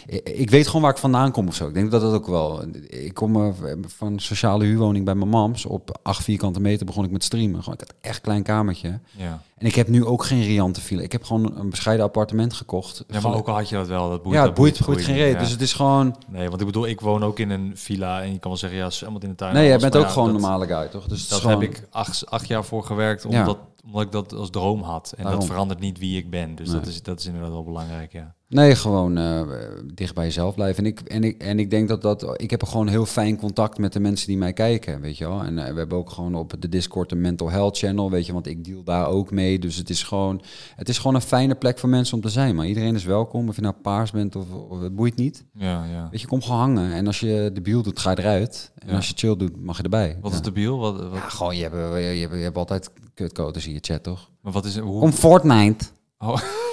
Ik, Eh, ik weet gewoon waar ik vandaan kom of zo. Ik denk dat dat ook wel. Ik kom eh, van sociale huurwoning bij mijn mams. Op acht vierkante meter begon ik met streamen. Gewoon, ik had echt een klein kamertje. Ja. En ik heb nu ook geen riante file. Ik heb gewoon een bescheiden appartement gekocht. Ja, maar Gewoon- ook al had je dat wel, dat boeit, ja, dat het boeit, boeit geen boeit reet. niet, Dus ja. het is gewoon. Nee, want ik bedoel, ik woon ook in een villa en je kan wel zeggen, ja, is helemaal in de tuin. Nee, jij alles, bent maar ook ja, gewoon een dat- normale guy, toch? Dus het is Dat gewoon, heb ik acht, acht jaar voor gewerkt, Ja. omdat, omdat ik dat als droom had. En dat Daarom. verandert niet wie ik ben. Dus dat, Nee. is, dat is inderdaad wel belangrijk, ja. Nee, gewoon eh, dicht bij jezelf blijven. En ik, en, ik, en ik denk dat dat... Ik heb gewoon heel fijn contact met de mensen die mij kijken, weet je wel. En eh, we hebben ook gewoon op de Discord een mental health channel, weet je. Want ik deal daar ook mee. Dus het is gewoon, het is gewoon een fijne plek voor mensen om te zijn. Maar iedereen is welkom. Of je nou paars bent of, of het boeit niet. Ja, ja. Weet je, kom gewoon hangen. En als je de biel doet, ga je eruit. En Ja. als je chill doet, mag je erbij. Wat ja. is de biel? Wat, wat, Ja, gewoon, je hebt, eh, je, hebt, je hebt altijd kutcodes in je chat, toch? maar wat is hoe, Kom Fortnite.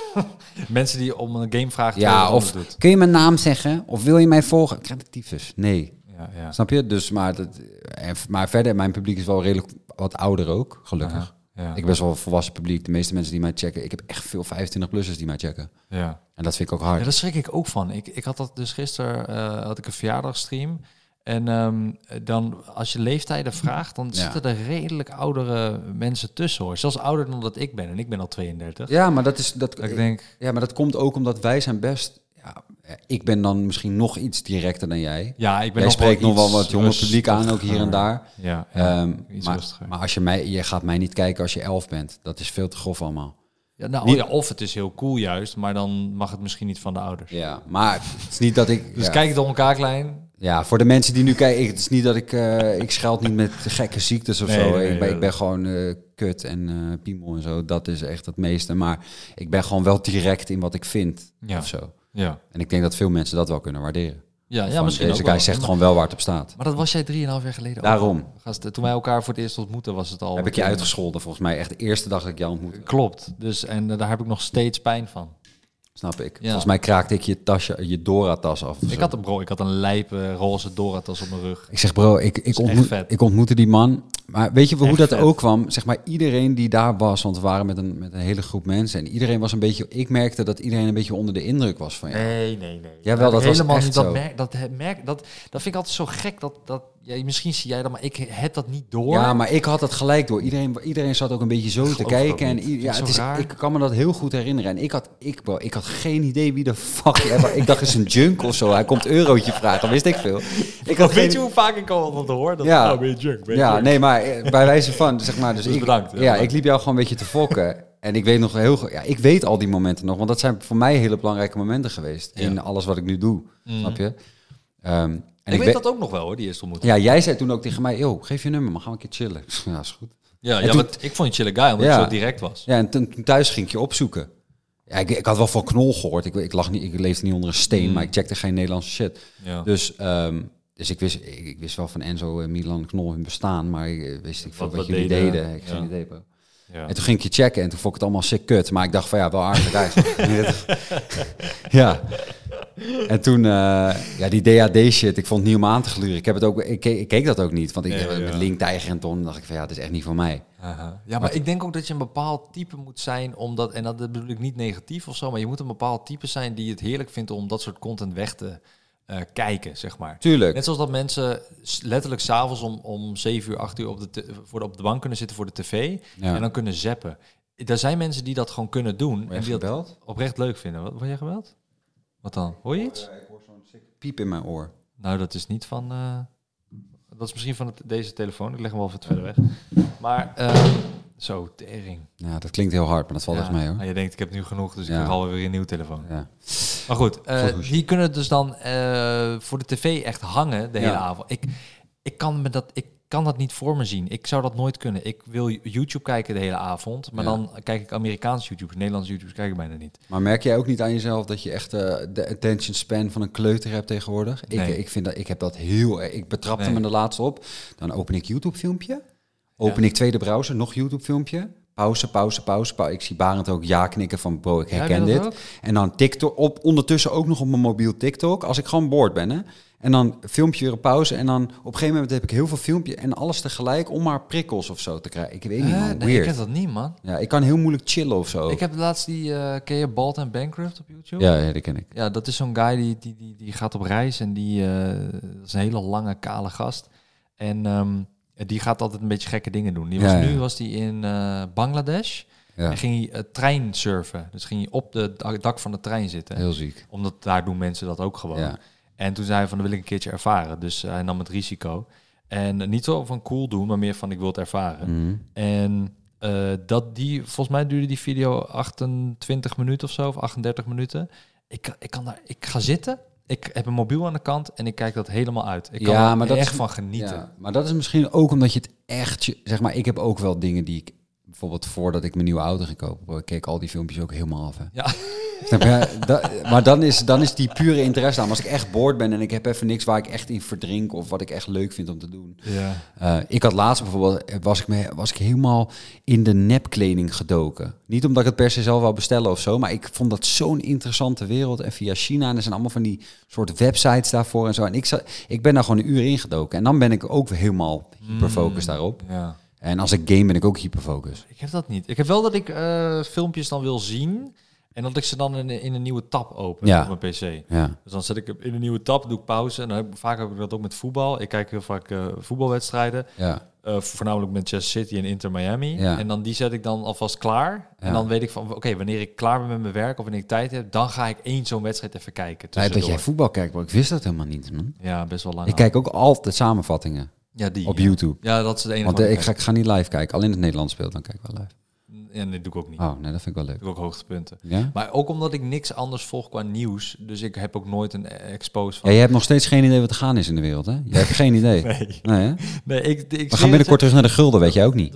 Mensen die om een game vragen, terwijl Ja, je wat of anders doet. kun je mijn naam zeggen? Of wil je mij volgen? Ik krijg de tyfus. Nee. Ja, ja. Snap je? Dus, maar, dat, en- maar verder, mijn publiek is wel redelijk wat ouder ook, gelukkig. Aha, Ja, Ik heb best wel een volwassen publiek. De meeste mensen die mij checken, ik heb echt veel 25-plussers die mij checken. ja. En dat vind ik ook hard. Ja, daar schrik ik ook van. Ik, ik had dat dus gisteren eh, had ik een verjaardagstream. En ehm, dan, als je leeftijden vraagt, dan Ja. zitten er redelijk oudere mensen tussen hoor. Zelfs ouder dan dat ik ben. En ik ben al 32. Ja, maar dat is dat. Dat ik denk, Ja, maar dat komt ook omdat wij zijn best. Ja, ik ben dan misschien nog iets directer dan jij. ja, ik ben jij nog spreekt nog wel iets wat jonger publiek aan, ook hier en rustiger. daar. Ja, ja, Ehm, iets maar, rustiger. maar als je mij, je gaat mij niet kijken als je elf bent. Dat is veel te grof allemaal. Ja, nou, Niet- oh ja, of het is heel cool juist, maar dan mag het misschien niet van de ouders. Ja, maar het is niet dat ik... Dus ja. kijk door elkaar klein. Ja, voor de mensen die nu kijken, ik- het is niet dat ik, eh, ik scheld niet met gekke ziektes of Nee, zo. nee, nee, ik, ben, dat- ik ben gewoon eh, kut en eh piemel en zo. Dat is echt het meeste. Maar ik ben gewoon wel direct in wat ik vind Ja. of zo. Ja, En ik denk dat veel mensen dat wel kunnen waarderen. ja, ja Van, misschien Deze ook guy wel. zegt maar, gewoon wel waar het op staat. Maar dat was jij 3,5 jaar geleden ook. Daarom Gast, Toen wij elkaar voor het eerst ontmoetten was het al... heb ik je meteen- uitgescholden volgens mij. Echt de eerste dag dat ik jou ontmoette. Klopt. Dus, en eh, daar heb ik nog steeds pijn van. Snap ik. Volgens mij kraakte ik je tasje, je Dora-tas af. of Ik zo. had een bro, ik had een lijpe roze doratas op mijn rug. Ik zeg, bro, ik, ik, echt ontmoet, vet. ik ontmoette die man. Maar weet je hoe Echt dat vet. ook kwam? Zeg maar, iedereen die daar was, want we waren met een, met een hele groep mensen. En iedereen was een beetje, ik merkte dat iedereen een beetje onder de indruk was van je. Nee, nee, nee. Jawel, dat was helemaal echt niet. Dat, zo. merk, dat, he- merk, dat, dat vind ik altijd zo gek. Dat, dat, ja, misschien zie jij dat, maar ik heb dat niet door. Ja, maar ik had dat gelijk door. Iedereen, iedereen zat ook een beetje zo te geloof het kijken. ook En, niet. i- Vind ik ja, zo het is, raar. ik kan me dat heel goed herinneren. En ik had, ik, bro, ik had geen idee wie de fuck... jij was. ik dacht, het is een junk of zo. Hij komt eurootje vragen, wist ik veel. Ik had Weet je geen- hoe vaak ik al dat hoor? Dat, Ja. oh, ben je junk, ben je Ja, junk. nee, maar eh, bij wijze van, zeg maar. Dus, Dus ik, bedankt, ja, Ja, bedankt. ik liep jou gewoon een beetje te fokken. En ik weet nog heel goed, ja, ik weet al die momenten nog, want dat zijn voor mij hele belangrijke momenten geweest Ja. in alles wat ik nu doe. Mhm. Snap je? Ehm, en Ik, weet dat ook nog wel hoor, die eerste ontmoeting. Ja, jij zei toen ook tegen mij, joh, geef je nummer, maar gaan we een keer chillen. Ja, is goed. Ja, ja, En toen- want ik vond je chille guy, omdat Ja. je zo direct was. Ja, en toen, toen thuis ging ik je opzoeken. Ja, ik, ik had wel van knol gehoord. Ik, ik lag niet, ik leefde niet onder een steen, Mm. maar ik checkte geen Nederlandse shit. Ja. Dus, ehm, dus ik, wist, ik, ik wist wel van Enzo en Milan Knol hun bestaan, maar ik eh, wist ik veel Wat wat, we jullie deden. deden. Ik Ja. geen idee, bro. Ja. En toen ging ik je checken en toen vond ik het allemaal sick kut. Maar ik dacht van ja, wel aardig eigenlijk. ja. En toen, eh, ja, die DAD shit, ik vond het niet om aan te gluren. Ik, heb het ook, ik, keek, ik keek dat ook niet, want ik Nee, eh, ja. met Link, Tijger en Ton dacht ik van ja, het is echt niet voor mij. Aha. Ja, maar ik denk ook dat je een bepaald type moet zijn, omdat, en dat bedoel ik niet negatief of zo, maar je moet een bepaald type zijn die het heerlijk vindt om dat soort content weg te eh, kijken, zeg maar. Tuurlijk. Net zoals dat mensen s- letterlijk s'avonds om, om 7 uur, 8 uur op de, te- voor de, op de bank kunnen zitten voor de tv Ja. en dan kunnen zappen. Er zijn mensen die dat gewoon kunnen doen en Heb die je dat gebeld? oprecht leuk vinden. Wat, word jij gebeld? Wat dan? Hoor je iets? Piep in mijn oor. Nou, dat is niet van... eh, dat is misschien van het- deze telefoon. Ik leg hem wel wat verder weg. Maar, eh, zo, tering. Ja, dat klinkt heel hard, maar dat valt echt mee hoor. Maar je denkt, ik heb nu genoeg, dus ik Ja. heb alweer een nieuw telefoon. Ja. Maar goed, eh, Goed hoesje. die kunnen dus dan eh, voor de tv echt hangen de hele Ja. avond. Ik, ik, kan me dat, ik kan dat niet voor me zien. Ik zou dat nooit kunnen. Ik wil YouTube kijken de hele avond, maar Ja. dan kijk ik Amerikaans YouTube. Nederlands YouTube kijk ik bijna niet. Maar merk jij ook niet aan jezelf dat je echt eh, de attention span van een kleuter hebt tegenwoordig? Nee. Ik, ik, vind dat, ik heb dat heel erg. Ik betrapte Nee. me de laatste op. Dan open ik YouTube-filmpje. Open ik tweede browser, nog YouTube-filmpje. Pauze, pauze, pauze, pauze. Ik zie Barend ook ja knikken van bro, ik Heb je herken dat dit. ook? En dan TikTok op, ondertussen ook nog op mijn mobiel TikTok. Als ik gewoon boord ben, hè. En dan filmpje weer een pauze. En dan op een gegeven moment heb ik heel veel filmpje en alles tegelijk om maar prikkels of zo te krijgen. Ik weet niet, Hè? man. nee, ik Weird. Oh. heb dat niet, man. Ja, ik kan heel moeilijk chillen of zo. Ik heb laatst die, eh ken je Bald and Bankrupt op YouTube? Ja, ja, dat ken ik. Ja, dat is zo'n guy die, die, die, die gaat op reis en die eh, dat is een hele lange, kale gast. En ehm, die gaat altijd een beetje gekke dingen doen. Die was, Ja, ja. Nu was die in eh, Bangladesh Ja, en ging hij eh, trein surfen. Dus ging hij op de dak- dak van de trein zitten. heel ziek. Omdat daar doen mensen dat ook gewoon. Ja. En toen zei hij van, dat wil ik een keertje ervaren. Dus hij nam het risico. En eh, niet zo van cool doen, maar meer van ik wil het ervaren. Mhm. En eh, dat die, volgens mij duurde die video 28 minuten of zo, of 38 minuten. Ik, kan- ik, kan daar, ik ga zitten, ik heb een mobiel aan de kant en ik kijk dat helemaal uit. Ik kan Ja, er maar dat echt is- van genieten. Ja, maar dat is misschien ook omdat je het echt... je- Zeg maar, ik heb ook wel dingen die ik... Bijvoorbeeld voordat ik mijn nieuwe auto ging kopen... bro, Ik keek al die filmpjes ook helemaal af. hè. Ja. Snap je? Da- maar dan is, dan is die pure interesse aan. Als ik echt boord ben en ik heb even niks waar ik echt in verdrink... of wat ik echt leuk vind om te doen. Ja. Eh, ik had laatst bijvoorbeeld... eh, Was ik, me, was ik helemaal in de nepkleding gedoken. Niet omdat ik het per se zelf wou bestellen of zo... maar ik vond dat zo'n interessante wereld. En via China en er zijn allemaal van die soort websites daarvoor en zo. En ik, zat, ik ben daar gewoon een uur in gedoken. En dan ben ik ook helemaal hyperfocus Hmm. daarop. ja. En als ik game ben ik ook hyperfocus. Ik heb dat niet. Ik heb wel dat ik eh, filmpjes dan wil zien en dat ik ze dan in, in een nieuwe tab open Ja. op mijn pc. Ja. Dus dan zet ik hem in een nieuwe tab, doe ik pauze. En dan heb ik, vaak heb ik dat ook met voetbal. Ik kijk heel vaak eh, voetbalwedstrijden. Ja. Eh, voornamelijk Manchester City en Inter Miami. Ja. En dan die zet ik dan alvast klaar. En Ja. dan weet ik van, oké, wanneer ik klaar ben met mijn werk of wanneer ik tijd heb, dan ga ik één zo'n wedstrijd even kijken. Lijkt dat tussendoor. jij voetbal kijkt, maar ik wist dat helemaal niet, man. Ja, best wel lang. Ik al. kijk ook altijd samenvattingen ja, die, op Ah. ja. YouTube. Ja, dat is de enige. Want wat eh, ik, kijk. ga, ik ga niet live kijken. Alleen het Nederlands speelt, dan kijk ik wel live. In En dat doe ik ook niet. Oh, nee, dat vind ik wel leuk. Doe ik ook hoogtepunten. Ja? Maar ook omdat ik niks anders volg qua nieuws. Dus ik heb ook nooit een eh, expose ja? van. Je hebt nog steeds geen idee wat er gaan is in de wereld, hè? Je hebt geen idee. Nee. Nee. hè? nee ik, ik We gaan binnenkort terug naar de gulden, weet jij ook niet.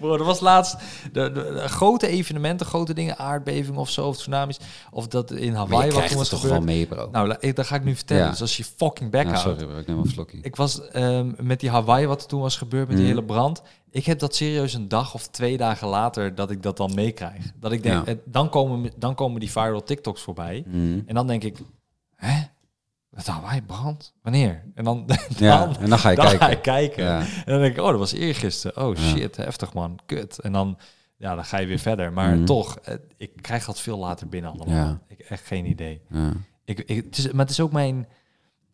Bro, er was laatst de, de- de grote evenementen, grote dingen, aardbeving of zo, of tsunamis. Of dat in Maar Hawaii je wat krijgt toen het was toch gebeurd. wel mee, bro. Nou, la- ik, dat ga ik nu vertellen. Ja. Dus als je fucking bek Ja, houdt. sorry, bro, ik neem wel een slokje. Ik was ehm, met die Hawaii wat er toen was gebeurd met die Mhm. hele brand. Ik heb dat serieus een dag of twee dagen later dat ik dat dan meekrijg. Dat ik denk, Ja. eh, dan, komen, dan komen die viral TikToks voorbij. Mm. En dan denk ik, hè? Wat Hawaii brand? Wanneer? En dan, dan, Ja, en dan ga je dan kijken. ga ik kijken. Ja. En dan denk ik, oh, dat was eergisteren. Oh Ja. shit, heftig man, kut. En dan, ja, dan ga je weer verder. Maar Mhm. toch, eh, ik krijg dat veel later binnen allemaal. Ja. Ik echt geen idee. Ja. Ik, ik, het is, maar het is ook mijn...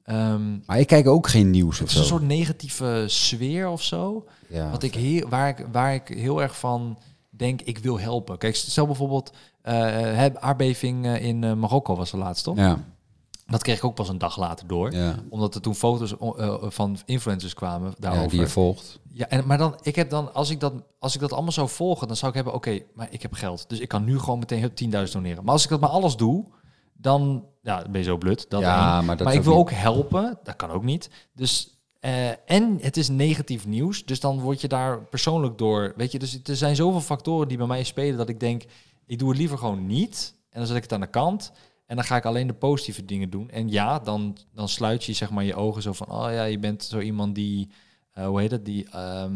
ehm, Maar ik kijk ook geen nieuws het of is een zo. Ah, soort negatieve sfeer of zo. Ja. wat ik heel, waar, ik, waar ik heel erg van denk, ik wil helpen. Kijk, stel bijvoorbeeld, eh, hè, aardbeving eh, in eh, Marokko was de laatste, toch? Ja. Dat kreeg ik ook pas een dag later door. Ja. Omdat er toen foto's o- eh, van influencers kwamen ja, daarover. die Ja, je volgt. en, maar dan, ik heb dan, als ik, dat, als ik dat allemaal zou volgen, dan zou ik hebben, oké, maar ik heb geld. Dus ik kan nu gewoon meteen hup, 10.000 doneren. Maar als ik dat maar alles doe, dan ja, dan ben je zo blut. Dat één. ja, maar dat maar is ik wil niet- ook helpen, dat kan ook niet. Dus, eh, en het is negatief nieuws, dus dan word je daar persoonlijk door. Weet je, dus er zijn zoveel factoren die bij mij spelen dat ik denk, ik doe het liever gewoon niet. En dan zet ik het aan de kant en dan ga ik alleen de positieve dingen doen. En ja, dan, dan sluit je zeg maar je ogen zo van, oh ja, je bent zo iemand die, eh, hoe heet dat, die ehm,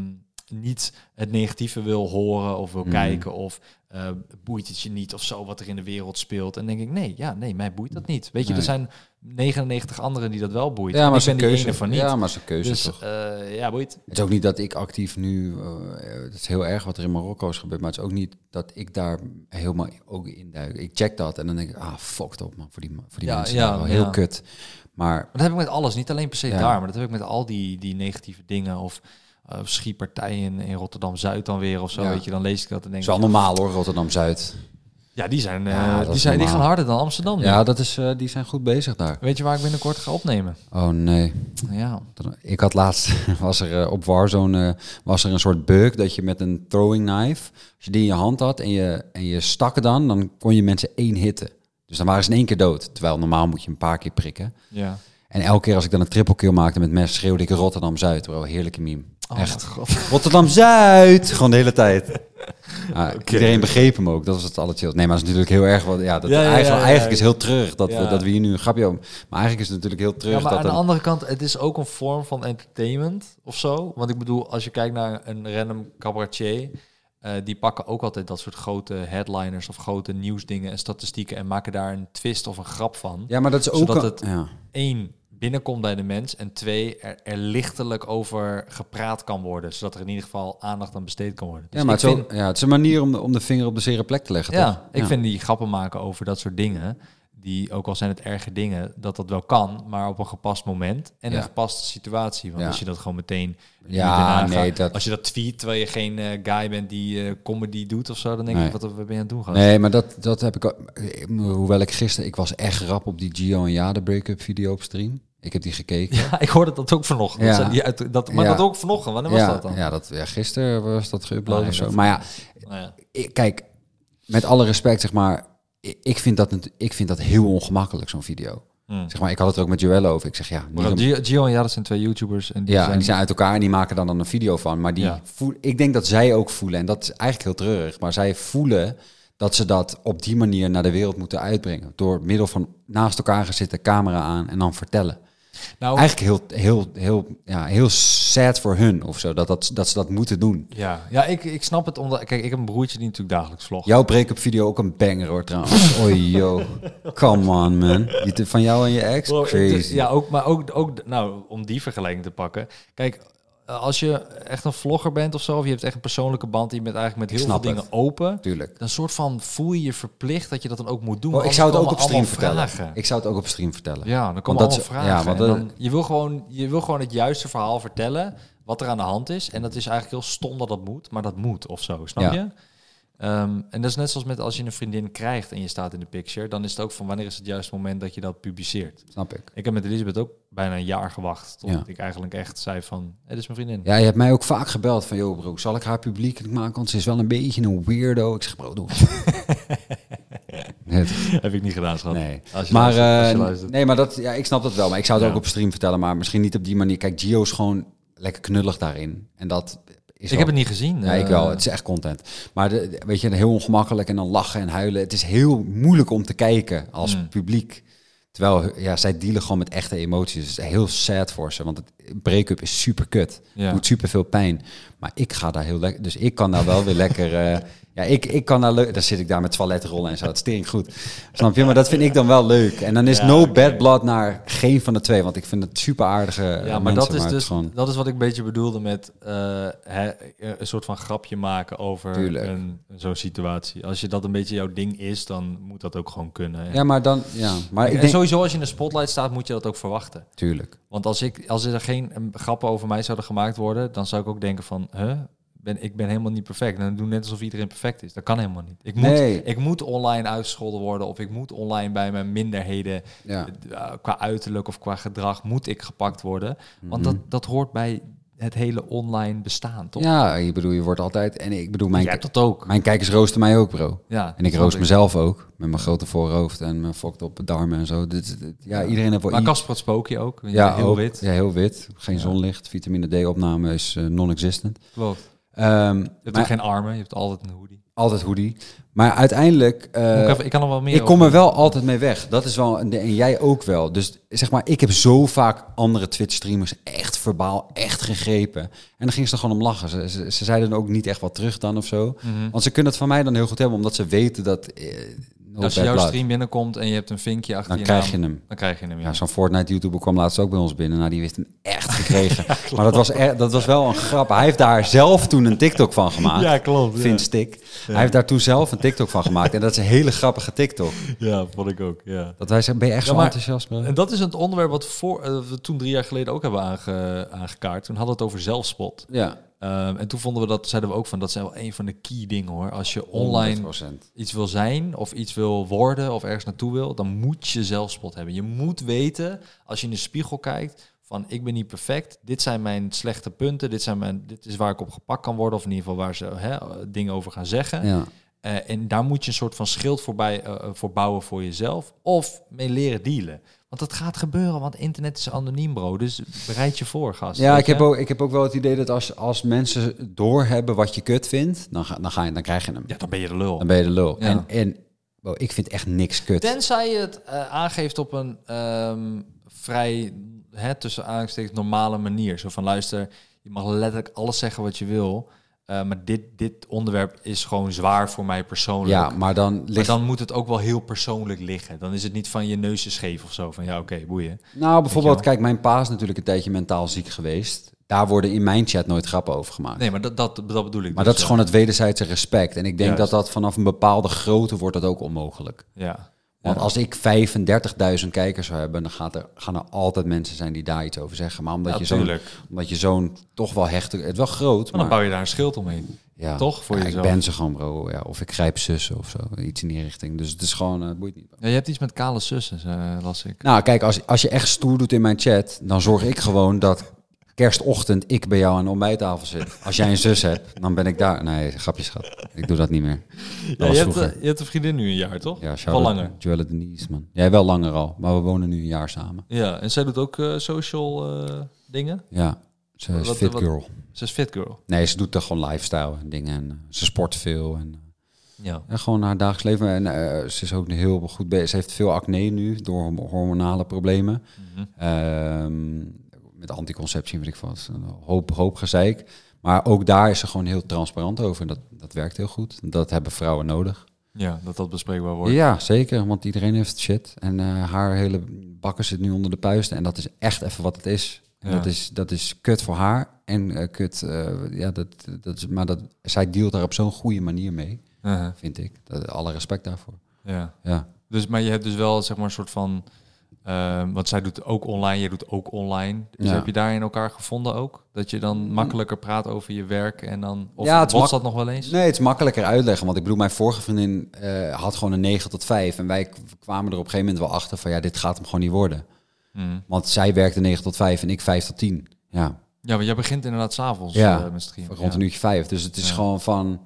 niet het negatieve wil horen of wil Mhm. kijken of eh, boeit het je niet of zo wat er in de wereld speelt. En dan denk ik, nee, ja, nee, mij boeit dat niet. Weet je, Nee. er zijn 99 anderen die dat wel boeit. Ja, maar ik ben zijn die keuze ene van niet. Ja, maar zijn keuze dus toch. eh, ja, boeit. Het is ook niet dat ik actief nu. eh, het is heel erg wat er in Marokko is gebeurd. Maar het is ook niet dat ik daar helemaal ook in duik. Ik check dat en dan denk ik, ah, fucked op man. Voor die, ma- voor die Ja, mensen. ja, daar wel heel ja. kut. Maar Maar dat heb ik met alles, niet alleen per se Ja. daar, maar dat heb ik met al die, die negatieve dingen of eh, schietpartijen in Rotterdam-Zuid dan weer of zo, Ja. weet je, dan lees ik dat en het denk is ik, wel normaal hoor, Rotterdam Zuid. ja, die zijn, eh, Ja, dat die, is zijn die gaan normaal. harder dan Amsterdam. nu. Ja, dat is, eh, die zijn goed bezig daar. Weet je waar ik binnenkort ga opnemen? Oh nee. Ja. Dan- Ik had laatst, was er eh, op Warzone, eh, was er een soort bug dat je met een throwing knife, als je die in je hand had en je, en je stak dan, dan kon je mensen één hitten. Dus dan waren ze in één keer dood. Terwijl normaal moet je een paar keer prikken. ja. En elke keer als ik dan een triple kill maakte met mes, schreeuwde ik Rotterdam Zuid, bro. Heerlijke meme. Oh, Echt. god. Rotterdam Zuid! Gewoon de hele tijd. Ah, Oké. Iedereen begreep hem ook. Dat was het alle chill. Nee, maar het is natuurlijk heel erg wat. Ja, dat, Ja, ja, ja, eigenlijk, ja. eigenlijk is het heel terug dat, Ja. we, dat we hier nu een grapje om. Maar eigenlijk is het natuurlijk heel terug Ja, maar dat aan de een- andere kant, het is ook een vorm van entertainment of zo. Want ik bedoel, als je kijkt naar een random cabaretier, eh, die pakken ook altijd dat soort grote headliners of grote nieuwsdingen en statistieken en maken daar een twist of een grap van. Ja, maar dat is ook. Zodat een- het- dus ja. Eén, binnenkomt bij de mens en twee, er, er lichtelijk over gepraat kan worden, zodat er in ieder geval aandacht aan besteed kan worden. Dus Ja, maar ik het is, ook- vind- ja, het is een manier om de, om de vinger op de zere plek te leggen. toch? Ja, ik vind die grappen maken over dat soort dingen, die ook al zijn het erge dingen, dat dat wel kan, maar op een gepast moment en Ja. een gepaste situatie. Want Ja. als je dat gewoon meteen Ja, niet erna nee, gaat- dat- als je dat tweet terwijl je geen eh, guy bent die eh, comedy doet of zo, dan denk Nee. ik wat, wat ben je aan het doen gast? Nee, maar dat, dat heb ik ook. ik- Hoewel ik gisteren, ik was echt rap op die Gio en Jade break-up video op stream. Ik heb die gekeken. Ja, ik hoorde dat ook vanochtend. Ja. Dat- die uit- dat, maar Ja. dat ook vanochtend. Wanneer was ja, dat dan? Ja, dat, ja, gisteren was dat geüpload Nee, of zo. dat- Maar ja, Nou ja. ik- kijk, met alle respect, zeg maar, i- ik vind dat, natu- ik vind dat heel ongemakkelijk, zo'n video. Hmm. Zeg maar, ik had het er ook met Joelle over. Ik zeg, ja, niet Maar om- Gio, Gio en Jara zijn twee YouTubers en die ja, en zijn... die zijn uit elkaar en die maken dan, dan een video van. Maar die Ja. voel, ik denk dat zij ook voelen, en dat is eigenlijk heel treurig, maar zij voelen dat ze dat op die manier naar de wereld moeten uitbrengen. Door middel van naast elkaar gaan zitten, camera aan en dan vertellen. nou, Eigenlijk heel, heel, heel, ja, heel sad voor hun of zo, dat, dat, dat ze dat moeten doen. ja, ja ik, ik snap het. Omdat, kijk, ik heb een broertje die natuurlijk dagelijks vlogt. Jouw break-up video ook een banger hoor trouwens. Oei yo. Come on man. Die te- van jou en je ex? Bro, ik- dus- Crazy. ja, ook, maar ook, ook, nou, om die vergelijking te pakken. Kijk, eh, als je echt een vlogger bent of zo, of je hebt echt een persoonlijke band, die je bent eigenlijk met heel veel snap dingen het. open. Tuurlijk. Dan soort van voel je je verplicht dat je dat dan ook moet doen. Oh, ik anders zou het ook komen op stream allemaal vertellen. vragen. Ik zou het ook op stream vertellen. Ja, dan komen dat allemaal is- vragen. ja, want En dat- dan, je, wil gewoon, je wil gewoon het juiste verhaal vertellen, wat er aan de hand is. En dat is eigenlijk heel stom dat dat moet, maar dat moet of zo, snap Ja. je? Ehm, en dat is net zoals met als je een vriendin krijgt en je staat in de picture, dan is het ook van wanneer is het juiste moment dat je dat publiceert. Snap ik. Ik heb met Elisabeth ook bijna een jaar gewacht, totdat Ja. ik eigenlijk echt zei van, het is mijn vriendin. Ja, je hebt mij ook vaak gebeld van, joh bro, zal ik haar publiekelijk maken? Want ze is wel een beetje een weirdo. Ik zeg, bro, doe het. Het- heb ik niet gedaan, schat. Nee. Als je Maar, luistert, als je eh, luistert. nee, maar dat, ja, ik snap dat wel. Maar ik zou het Ja. ook op stream vertellen, maar misschien niet op die manier. Kijk, Gio is gewoon lekker knullig daarin. En dat is ik heb het niet gezien. Ja, ik eh, wel. Het is echt content. Maar de, de- weet je, heel ongemakkelijk en dan lachen en huilen. Het is heel moeilijk om te kijken als Mm. publiek. Terwijl ja, zij dealen gewoon met echte emoties. Dus Het is heel sad voor ze, want het break-up is super kut. Ja. Doet super veel pijn. Maar ik ga daar heel lekker. Dus ik kan daar wel weer lekker. eh, ja, ik, ik kan daar leuk. Dan zit ik daar met toiletrollen en zo. Het stering goed. Snap je? Maar dat vind ik dan wel leuk. En dan is Ja, no oké. bad blood naar geen van de twee. Want ik vind het super aardige. eh, Ja, maar dat is dus dat is wat ik een beetje bedoelde met eh, hè, een soort van grapje maken over Tuurlijk. een zo'n situatie. Als je dat een beetje jouw ding is, dan moet dat ook gewoon kunnen. Ja, maar dan. Ja, maar ik En denk. sowieso als je in de spotlight staat, moet je dat ook verwachten. Tuurlijk. Want als, ik, als er geen eh, grappen over mij zouden gemaakt worden, dan zou ik ook denken van, huh? Ben, ik ben helemaal niet perfect. En dan doen net alsof iedereen perfect is. Dat kan helemaal niet. Ik moet, Nee. ik moet online uitgescholden worden of ik moet online bij mijn minderheden Ja. eh, qua uiterlijk of qua gedrag moet ik gepakt worden. Want dat, dat hoort bij het hele online bestaan, toch? Mm. Ja, ik bedoel, je wordt altijd... En ik bedoel, mijn, Jij hebt dat ook. mijn kijkers roosten mij ook, bro. Ja, En ik snap roost mezelf ook. Met mijn grote voorhoofd en mijn fokt op darmen en zo. Dit, dit- ja, iedereen heeft wel... Maar iets- Casper het Spookje ook. ja, Ja, heel ook. wit. Ja, heel wit. Geen Ja. zonlicht. Vitamine D-opname is eh, non-existent. Klopt. Je Ehm, hebt maar ook geen armen, je hebt altijd een hoodie. altijd hoodie. Maar uiteindelijk... eh, Moet ik, even- ik kan er wel meer ik kom over. er wel altijd mee weg. Dat is wel... een- En jij ook wel. Dus zeg maar, ik heb zo vaak andere Twitch-streamers echt verbaal, echt gegrepen. En dan ging ze er gewoon om lachen. Ze, ze, ze zeiden ook niet echt wat terug dan of zo. Mhm. Want ze kunnen het van mij dan heel goed hebben, omdat ze weten dat... eh, no Als je bad jouw blood. stream binnenkomt en je hebt een vinkje achter Dan je krijg naam, je hem. dan krijg je hem. Ja. Ja, zo'n Fortnite-YouTuber kwam laatst ook bij ons binnen. Nou, die heeft hem echt gekregen. maar dat was, e- dat was wel een grap. Hij heeft daar zelf toen een TikTok van gemaakt. Ja, klopt. Vindt Stik. Hij heeft daar toen zelf een TikTok van gemaakt. En dat is een hele grappige TikTok. Ja, vond ik ook. Ja. Dat wij zeggen, ben je echt Ja, zo maar- enthousiast? bro? En dat is het onderwerp wat voor, eh, we toen drie jaar geleden ook hebben aange- aangekaart. Toen hadden we het over zelfspot. Ja, Ehm, en toen vonden we dat, zeiden we ook van, dat zijn wel een van de key dingen hoor. Als je online 100%. iets wil zijn of iets wil worden of ergens naartoe wil, dan moet je zelfspot hebben. Je moet weten, als je in de spiegel kijkt, van ik ben niet perfect, dit zijn mijn slechte punten, dit, zijn mijn, dit is waar ik op gepakt kan worden, of in ieder geval waar ze hè, dingen over gaan zeggen. Ja. Eh, en daar moet je een soort van schild voorbij, eh, voor bouwen voor jezelf. Of mee leren dealen. Want dat gaat gebeuren, want internet is anoniem, bro. Dus bereid je voor, gast. Ja, weet ik heb, je? ook, ik heb ook wel het idee dat als, als mensen doorhebben wat je kut vindt, dan, ga, dan, ga je, dan krijg je hem. Ja, dan ben je de lul. Dan ben je de lul. Ja. En, en wow, ik vind echt niks kut. Tenzij je het eh, aangeeft op een ehm, vrij, hè, tussen aanhalingstekens, normale manier. Zo van, luister, je mag letterlijk alles zeggen wat je wil. eh, maar dit, dit onderwerp is gewoon zwaar voor mij persoonlijk. Ja, maar dan maar ligt dan moet het ook wel heel persoonlijk liggen. Dan is het niet van je neus is scheef of zo. Van ja, oké, boeien. Nou, bijvoorbeeld, Weet je kijk, mijn pa is natuurlijk een tijdje mentaal ziek geweest. Daar worden in mijn chat nooit grappen over gemaakt. Nee, maar dat, dat, dat bedoel ik. dus, maar dat is eh, gewoon het wederzijdse respect. En ik denk Juist. dat dat vanaf een bepaalde grootte wordt dat ook onmogelijk. Ja. Want als ik 35.000 kijkers zou hebben, dan gaat er, gaan er altijd mensen zijn die daar iets over zeggen. Maar omdat Ja, je zo'n, tuurlijk. omdat je zo'n toch wel hechte, het is wel groot, Maar dan maar, bouw je daar een schild omheen. ja, toch voor ja, jezelf. Ik ben ze gewoon, bro. Ja, of ik grijp zussen of zo, iets in die richting. Dus het is gewoon, eh, boeit niet. Ja, je hebt iets met kale zussen, eh, las ik. Nou, kijk, als, als je echt stoer doet in mijn chat, dan zorg ik gewoon dat kerstochtend ik bij jou aan de ontbijttafel zit. Als jij een zus hebt, dan ben ik daar. Nee, grapjes schat. Ik doe dat niet meer. Ja, Dat was je, hebt, vroeger. eh, je hebt een vriendin nu een jaar, toch? ja, Wel langer. Joelle Denise, man. Jij wel langer al, maar we wonen nu een jaar samen. Ja, en zij doet ook eh, social eh, dingen. Ja, ze is Wat- fit wat- girl. Ze is fit girl. Nee, ze doet er gewoon lifestyle en dingen. En, eh, ze sport veel en, Ja. en gewoon haar dagelijks leven. En eh, ze is ook heel goed bezig. Ze heeft veel acne nu door horm- hormonale problemen. Mhm. Ehm, met anticonceptie, weet ik wat. Een hoop, hoop gezeik. Maar ook daar is ze gewoon heel transparant over. En dat, dat werkt heel goed. Dat hebben vrouwen nodig. ja, dat dat bespreekbaar wordt. Ja, zeker. Want iedereen heeft shit. En eh, haar hele bakken zit nu onder de puisten. En dat is echt even wat het is. En Ja. dat, is, dat is kut voor haar. En eh, kut, eh, ja, dat, dat is, maar dat, zij dealt daar op zo'n goede manier mee, Uh-huh, vind ik. Dat, alle respect daarvoor. ja. Ja. Dus, maar je hebt dus wel zeg maar, een soort van Ehm, want zij doet ook online, jij doet ook online. Dus Ja. Mm. heb je daarin elkaar gevonden ook? Dat je dan makkelijker praat over je werk en dan... Of Ja, ja, het is was dat nog wel eens? Nee, het is makkelijker uitleggen. Want ik bedoel, mijn vorige vriendin eh, had gewoon een 9 tot 5. En wij k- kwamen er op een gegeven moment wel achter van ja, dit gaat hem gewoon niet worden. Mm. Want zij werkte 9 tot 5 en ik 5 tot 10. Ja, Ja, want jij begint inderdaad s'avonds Ja, eh met streamen. rond een uurtje 5. Dus het is Ja. gewoon van.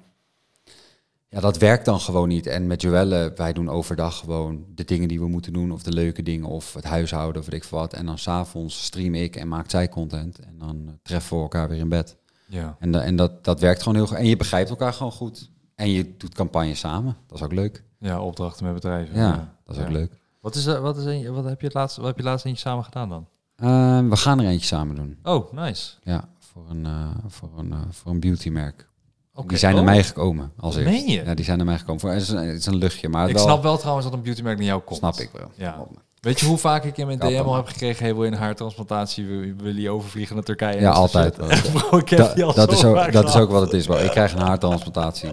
Ja, dat werkt dan gewoon niet. En met Joelle, wij doen overdag gewoon de dingen die we moeten doen. Of de leuke dingen, of het huishouden, of weet ik veel wat. En dan s'avonds stream ik en maak zij content. En dan eh, treffen we elkaar weer in bed. Ja. En, da- en dat, dat werkt gewoon heel goed. En je begrijpt elkaar gewoon goed. En je doet campagne samen. Dat is ook leuk. ja, opdrachten met bedrijven. Ja, dat is ook Ja. leuk. Wat, is, er- wat, is een, wat heb je het laatste, wat heb je laatst eentje samen gedaan dan? Eh, we gaan er eentje samen doen. Oh, nice. Ja, voor een, eh, voor een, eh, voor een beautymerk. Oké. Die zijn Oh, naar mij gekomen als eerst. Meen je? Ja, die zijn naar mij gekomen. Voor, het, is een, het is een luchtje, maar Oh. Ik wel, snap wel trouwens dat een beautymerk naar jou komt. snap ik wel. Ja. Weet je hoe vaak ik in mijn DM Kappen. al heb gekregen... hey, wil je een haartransplantatie, wil, wil je overvliegen naar Turkije? En Ja, dat soort altijd. shit. Bro, ik heb Da- die al dat, zo is ook, vaak dat is gehad. ook wat het is. Bro. Ik krijg een haartransplantatie.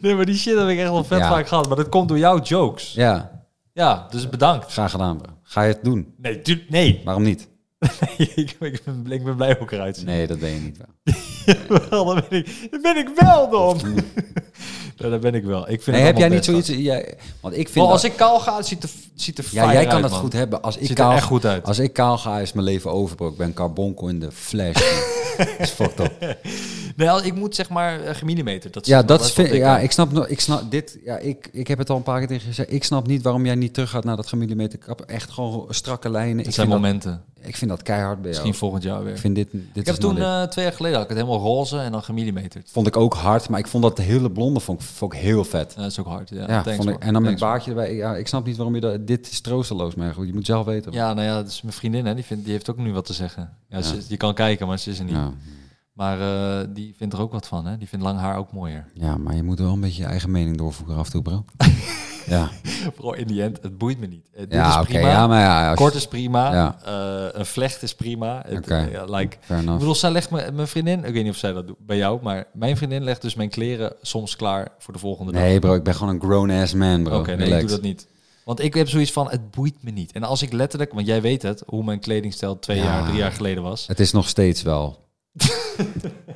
Nee, maar die shit heb ik echt wel vet Ja. vaak gehad. Maar dat komt door jouw jokes. Ja, Ja, dus bedankt. graag gedaan. Bro. Ga je het doen? Nee, tu- nee. Waarom niet? ik, ben, ik ben- ik ben blij hoe ik eruit zie. Nee, dat ben je niet. Bro. Wel, dat ben ik, dat ben ik wel dan. ja, dat ben ik wel. Ik vind Nee, het heb jij allemaal niet best zoiets? Jij, want ik wel. vind Wel, als dat- ik kaal ga, het ziet er, ziet er ja, fijn jij kan uit, dat man. goed hebben. Als ik ziet er kaal echt goed uit. Als ik kaal ga, is mijn leven over, bro. Ik ben carbonco in de flash. Dat is fucked up. Nee, als- ik moet zeg maar eh, gemillimeterd. Dat Ja, ziet er dat wel eh, best is, wel vind, dik ja, uit. ik snap, nog- ik snap dit. Ja, ik, ik heb het al een paar keer tegen je gezegd. Ik snap niet waarom jij niet teruggaat naar dat gemillimeter kap. Echt gewoon strakke lijnen. Ik Het zijn vind, dat, momenten. ik vind dat keihard bij jou. Misschien volgend jaar weer. Ik vind dit, dit Ik is heb toen nou dit. eh, twee jaar geleden had ik het helemaal roze en dan gemillimeterd. vond ik ook hard, maar ik vond dat de hele blonde vond, ik- vond ik heel vet. Ja, Eh, dat is ook hard. Ja, Ja, thanks, vond ik, man. en dan met Thanks, man. baardje erbij. Ja, ik snap niet waarom je dat. Dit is troosteloos, maar goed, je moet zelf weten. Ja, nou ja, dat is mijn vriendin, hè, die, vindt, die heeft ook nu wat te zeggen. Ja, Ja. Ze, je kan kijken, maar ze is er niet. ja, Maar eh, die vindt er ook wat van, hè? Die vindt lang haar ook mooier. Ja, maar je moet wel een beetje je eigen mening doorvoeren af en toe, bro. ja, Bro, in die end, het boeit me niet. Eh, dit ja is oké. prima. ja, maar ja, als Kort je- is prima. Ja. eh, een vlecht is prima. Het, Oké. eh, like, fair ik enough. bedoel, zij legt me, mijn vriendin... Ik weet niet of zij dat doet bij jou, maar mijn vriendin legt dus mijn kleren soms klaar voor de volgende dag. Nee, bro, ik ben gewoon een grown-ass man, bro. Oké, nee, ik Relax. doe dat niet. Want ik heb zoiets van, het boeit me niet. En als ik letterlijk, want jij weet het, hoe mijn kledingstijl twee Ja. jaar, drie jaar geleden was. Het is nog steeds wel.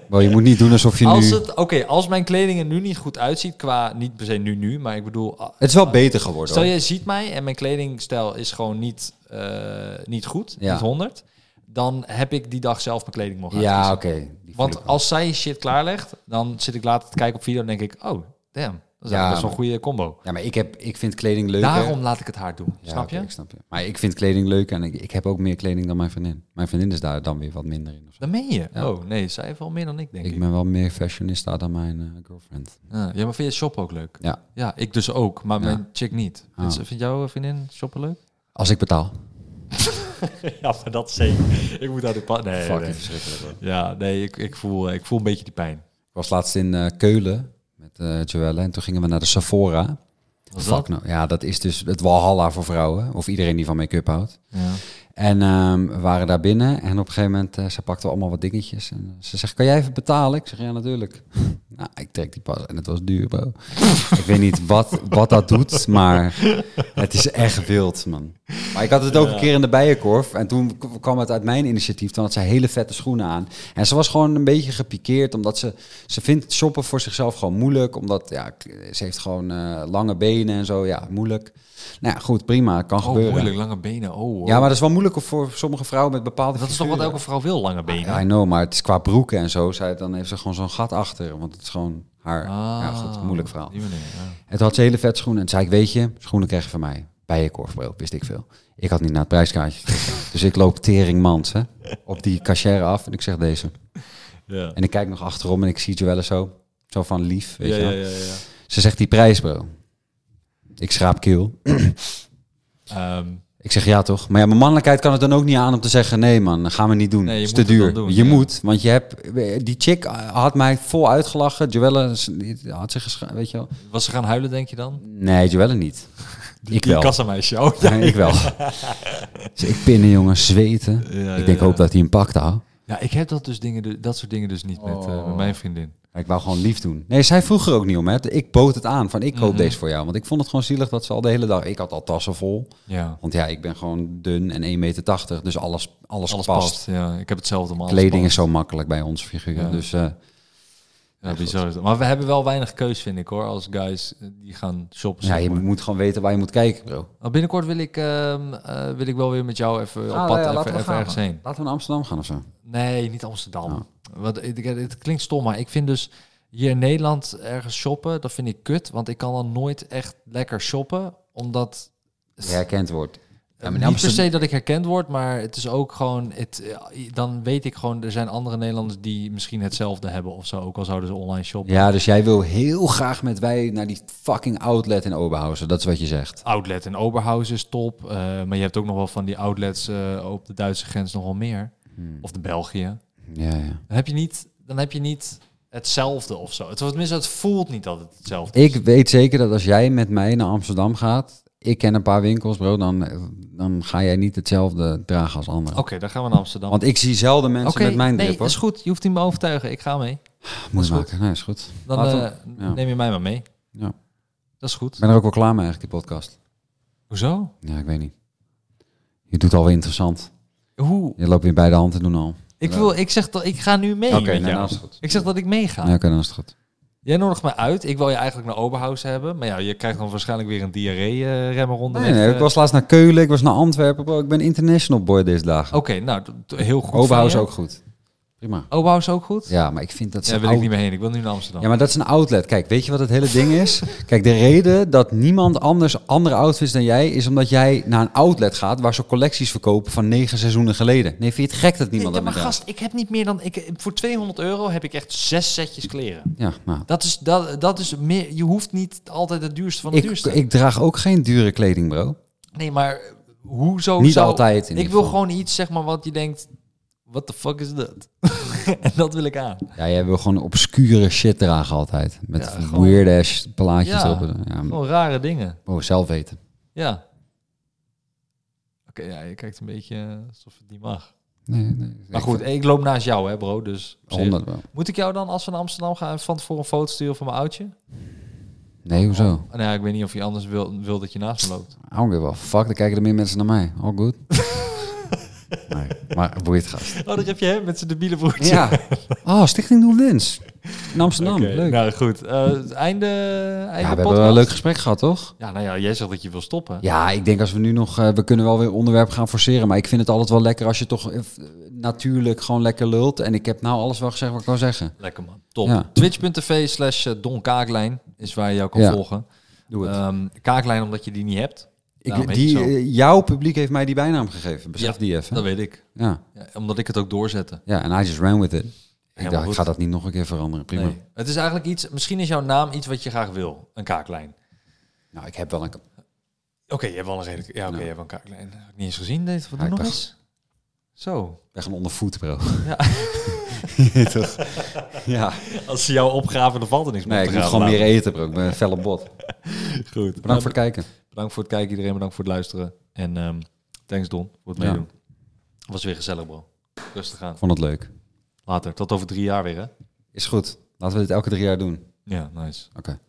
Wel, je moet niet doen alsof je Als nu... het, oké, als mijn kleding er nu niet goed uitziet, qua niet per se nu nu, maar ik bedoel, ah, Het is wel beter geworden. stel hoor. je ziet mij en mijn kledingstijl is gewoon niet, eh, niet goed, Ja. niet 100, dan heb ik die dag zelf mijn kleding mogen Ja, uitkiezen. oké. die voel ik Want wel. als zij shit klaarlegt, dan zit ik later te kijken op video en denk ik, oh, damn, dat is Ja, eigenlijk best wel een maar- goede combo. Ja, maar ik, heb, ik vind kleding leuker. Daarom laat ik het haar doen, Ja, snap oké, je? ik snap je. Maar ik vind kleding leuk en ik, ik heb ook meer kleding dan mijn vriendin. Mijn vriendin is daar dan weer wat minder in. Of zo. Dan meen je. Ja. Oh, nee, zij heeft wel meer dan ik, denk ik. Ik ben wel meer fashionista dan mijn eh, girlfriend. Ja, ja, maar vind je shop ook leuk? Ja. Ja, ik dus ook, maar Ja. mijn chick niet. Ah. Dus, vindt jouw vriendin shoppen leuk? Als ik betaal. ja, maar dat zeker. Ik moet uit de pad. Nee, Fucking verschrikkelijk. hoor. Ja, nee, ik, ik, voel, eh, ik voel een beetje die pijn. Ik was laatst in eh, Keulen met eh Joelle en toen gingen we naar de Sephora. Wat is Fuck nou. Ja, dat is dus het Walhalla voor vrouwen. Of iedereen die van make-up houdt. Ja. En ehm, we waren daar binnen en op een gegeven moment, eh, ze pakte allemaal wat dingetjes. En eh, ze zegt, kan jij even betalen? Ik zeg, ja natuurlijk. nou, ik trek die pas en het was duur, bro. ik weet niet wat, wat dat doet, maar het is echt wild, man. Maar ik had het ook een keer in de bijenkorf en toen k- kwam het uit mijn initiatief. Toen had ze hele vette schoenen aan. En ze was gewoon een beetje gepikeerd, omdat ze, ze vindt shoppen voor zichzelf gewoon moeilijk. Omdat, ja, k- ze heeft gewoon eh, lange benen en zo, ja, moeilijk. Nou ja, goed, prima, kan Oh, gebeuren. moeilijk, lange benen. Oh, hoor. Ja, maar dat is wel moeilijk voor sommige vrouwen met bepaalde dat is toch wat elke vrouw wil, lange benen? Ja, I know, maar het is qua broeken en zo. Zij, dan heeft ze gewoon zo'n gat achter, want het is gewoon haar... ja, Ah. goed, moeilijk verhaal. Die manier, ja. En toen had ze hele vet schoenen. En toen zei ik, weet je, schoenen krijg je van mij. Bijenkorfbril, wist ik veel. Ik had niet naar het prijskaartje gekeken. dus ik loop teringmans hè, op die cachère af en ik zeg deze. Ja. En ik kijk nog achterom en ik zie Joelle zo. Zo van lief, weet Ja, je wel. ja, ja, ja. Ze zegt die prijs, bro. Ik schraap keel. Ehm, Ik zeg ja toch? Maar ja, mijn mannelijkheid kan het dan ook niet aan om te zeggen... nee man, dat gaan we niet doen. Nee, je het is moet te het duur. dan doen, je ja. moet, want je hebt... Die chick eh, had mij vol uitgelachen. Joelle is- had zich gescha- weet je wel. was ze gaan huilen, denk je dan? Nee, Joelle niet. ik Die wel. kassameisje. Oh, Nee, ik wel. Dus ik pinnen, jongen, zweten. Ja, ja, ik denk, ja. hoop dat hij een pak houdt. Oh. Ja, ik heb dat, dus dingen, dat soort dingen dus niet met, eh, met mijn vriendin. Maar ik wou gewoon lief doen. Nee, zij vroeg er ook niet om. Hè. Ik bood het aan van ik koop Mhm. deze voor jou. Want ik vond het gewoon zielig dat ze al de hele dag... Ik had al tassen vol. Ja. Want ja, ik ben gewoon dun en 1,80 meter. Dus alles, alles, Alles past. past. Ja, ik heb hetzelfde, man. Alles Kleding past. is zo makkelijk bij ons figuur. Ja. Dus eh, Ja, bizar. is dat. Maar we hebben wel weinig keus, vind ik hoor. Als guys eh, die gaan shoppen. ja, zeg je maar. moet gewoon weten waar je moet kijken, bro. Nou, binnenkort wil ik, ehm, eh, wil ik wel weer met jou even op pad. even, even ergens heen. Laten Ah, we naar Amsterdam gaan of zo. Nee, niet Amsterdam. Want ik- ik- het klinkt stom, maar ik vind dus hier in Nederland ergens shoppen, dat vind ik kut. Want ik kan dan nooit echt lekker shoppen. Omdat. Je herkend wordt. Ja, maar in niet per Amsterdam- se dat ik herkend word, maar het is ook gewoon. Het, eh, dan weet ik gewoon, er zijn andere Nederlanders die misschien hetzelfde hebben of zo. Ook al zouden ze online shoppen. Ja, dus jij wil heel graag met wij naar die fucking outlet in Oberhausen. Dat is wat je zegt. Outlet in Oberhausen is top. eh, maar je hebt ook nog wel van die outlets eh, op de Duitse grens nog wel meer. Of de België. Ja, ja. Dan heb je niet, dan heb je niet hetzelfde of zo. Het, tenminste, het voelt niet dat het hetzelfde Ik is. weet zeker dat als jij met mij naar Amsterdam gaat, ik ken een paar winkels, bro, dan, eh, dan ga jij niet hetzelfde dragen als anderen. Oké, dan gaan we naar Amsterdam. Want ik zie zelden mensen Oké, met mijn nee, drip, hoor. is goed. Je hoeft niet me overtuigen. Ik ga mee. Moet is je maken. Nee, is goed. Dan Laten eh, ja. neem je mij maar mee. Ja. Dat is Ik goed. ben er ook wel klaar mee eigenlijk, die podcast. Hoezo? Ja, ik weet niet. Je doet het alweer interessant. Hoe? Je loopt weer bij de hand te doen al. Ik, wil, ik zeg dat ik ga nu mee Oké, met nee, jou. dan is het goed. Ik zeg dat ik meega. Ja, oké, dan is het goed. Jij nodigt me uit. Ik wil je eigenlijk naar Oberhausen hebben. Maar ja, je krijgt dan waarschijnlijk weer een diarree-remmer onder. Nee, nee, ik was laatst naar Keulen, ik was naar Antwerpen, bro. Ik ben international boy deze dagen. Oké, nou, d- d- heel goed. van Oberhausen je. ook goed. Prima. Oberhausen ook goed? Ja, maar ik vind dat ze Daar wil ik oud- niet meer heen. Ik wil nu naar Amsterdam. Ja, maar dat is een outlet. Kijk, weet je wat het hele ding is? Kijk, de reden dat niemand anders andere outfits dan jij is omdat jij naar een outlet gaat waar ze collecties verkopen van negen seizoenen geleden. Nee, vind je het gek dat Nee, niemand ja, dat maar meer gast, ik heb niet meer dan... Ik, voor 200 euro heb ik echt zes setjes kleren. doet? Ja, nou. Dat is, dat, dat is meer... Je hoeft niet altijd het duurste van het Ik, duurste. ik draag ook geen dure kleding, bro. nee, maar hoezo Niet zou... altijd. In Ik ieder wil geval. gewoon iets, zeg maar, wat je denkt... What the fuck is dat? en dat wil ik aan. Ja, jij wil gewoon obscure shit dragen altijd. Met Ja, gewoon- weird ass plaatjes Ja. erop. Ja, maar- Gewoon rare dingen. oh, zelf weten. Ja. Oké, ja, je kijkt een beetje eh, alsof het niet mag. Nee, nee. Maar goed, ik loop naast jou, hè, bro. Dus op zich- 100 wel. Moet ik jou dan, als we naar Amsterdam gaan, van tevoren een foto sturen van mijn oudje? Nee, hoezo? Oh, nou ja, ik weet niet of je anders wil, wil dat je naast me loopt. I don't give a fuck. Dan kijken er meer mensen naar mij. All good. nee, maar boeit gast. Oh, dat heb je hè, met zijn debiele broertje. Ja. Oh, Stichting Doel Lens. In Amsterdam. Oké, Leuk. Nou goed, Eh, einde, einde ja, we hebben podcast. wel een leuk gesprek gehad, toch? Ja, nou ja, jij zegt dat je wil stoppen. Ja, ik denk als we nu nog... eh, we kunnen wel weer onderwerp gaan forceren. Maar ik vind het altijd wel lekker als je toch eh, natuurlijk gewoon lekker lult. En ik heb nou alles wel gezegd wat ik wou zeggen. Lekker man, top. Ja. Twitch.tv slash eh, Don Kaaklijn is waar je jou kan Ja. volgen. Doe het. Ehm, Kaaklijn omdat je die niet hebt. Daarom Eh, ik, heet het die, Nou, zo. eh, jouw publiek heeft mij die bijnaam gegeven. Besef Ja, die even. Dat weet ik. Ja, Ja, omdat ik het ook doorzette. ja. En I just ran with it. Ik Helemaal dacht, ik goed. ga dat niet nog een keer veranderen. Prima. Nee. Het is eigenlijk iets, misschien is jouw naam iets wat je graag wil. Een kaaklijn. Nou, ik heb wel een... Oké, je hebt wel een redelijk. Ja, oké, Ja. je hebt wel een kaaklijn. Heb ik niet eens gezien. Dit, wat Ja, doe ik nog dacht- eens? Zo. Ik ben gewoon ondervoed, bro. Ja. Ja. Toch? ja. Als ze jou opgraven, dan valt er niks Nee, ik moet gewoon meer eten, bro. Ik ben een felle bot. Goed. Bedankt voor het kijken. Bedankt voor het kijken, iedereen. Bedankt voor het luisteren. En ehm, thanks Don voor het Ja. meedoen. Was weer gezellig, bro. Rustig aan. Ik vond het leuk. Later. Tot over drie jaar weer, hè? Is goed. Laten we dit elke drie jaar doen. Ja, nice. Oké.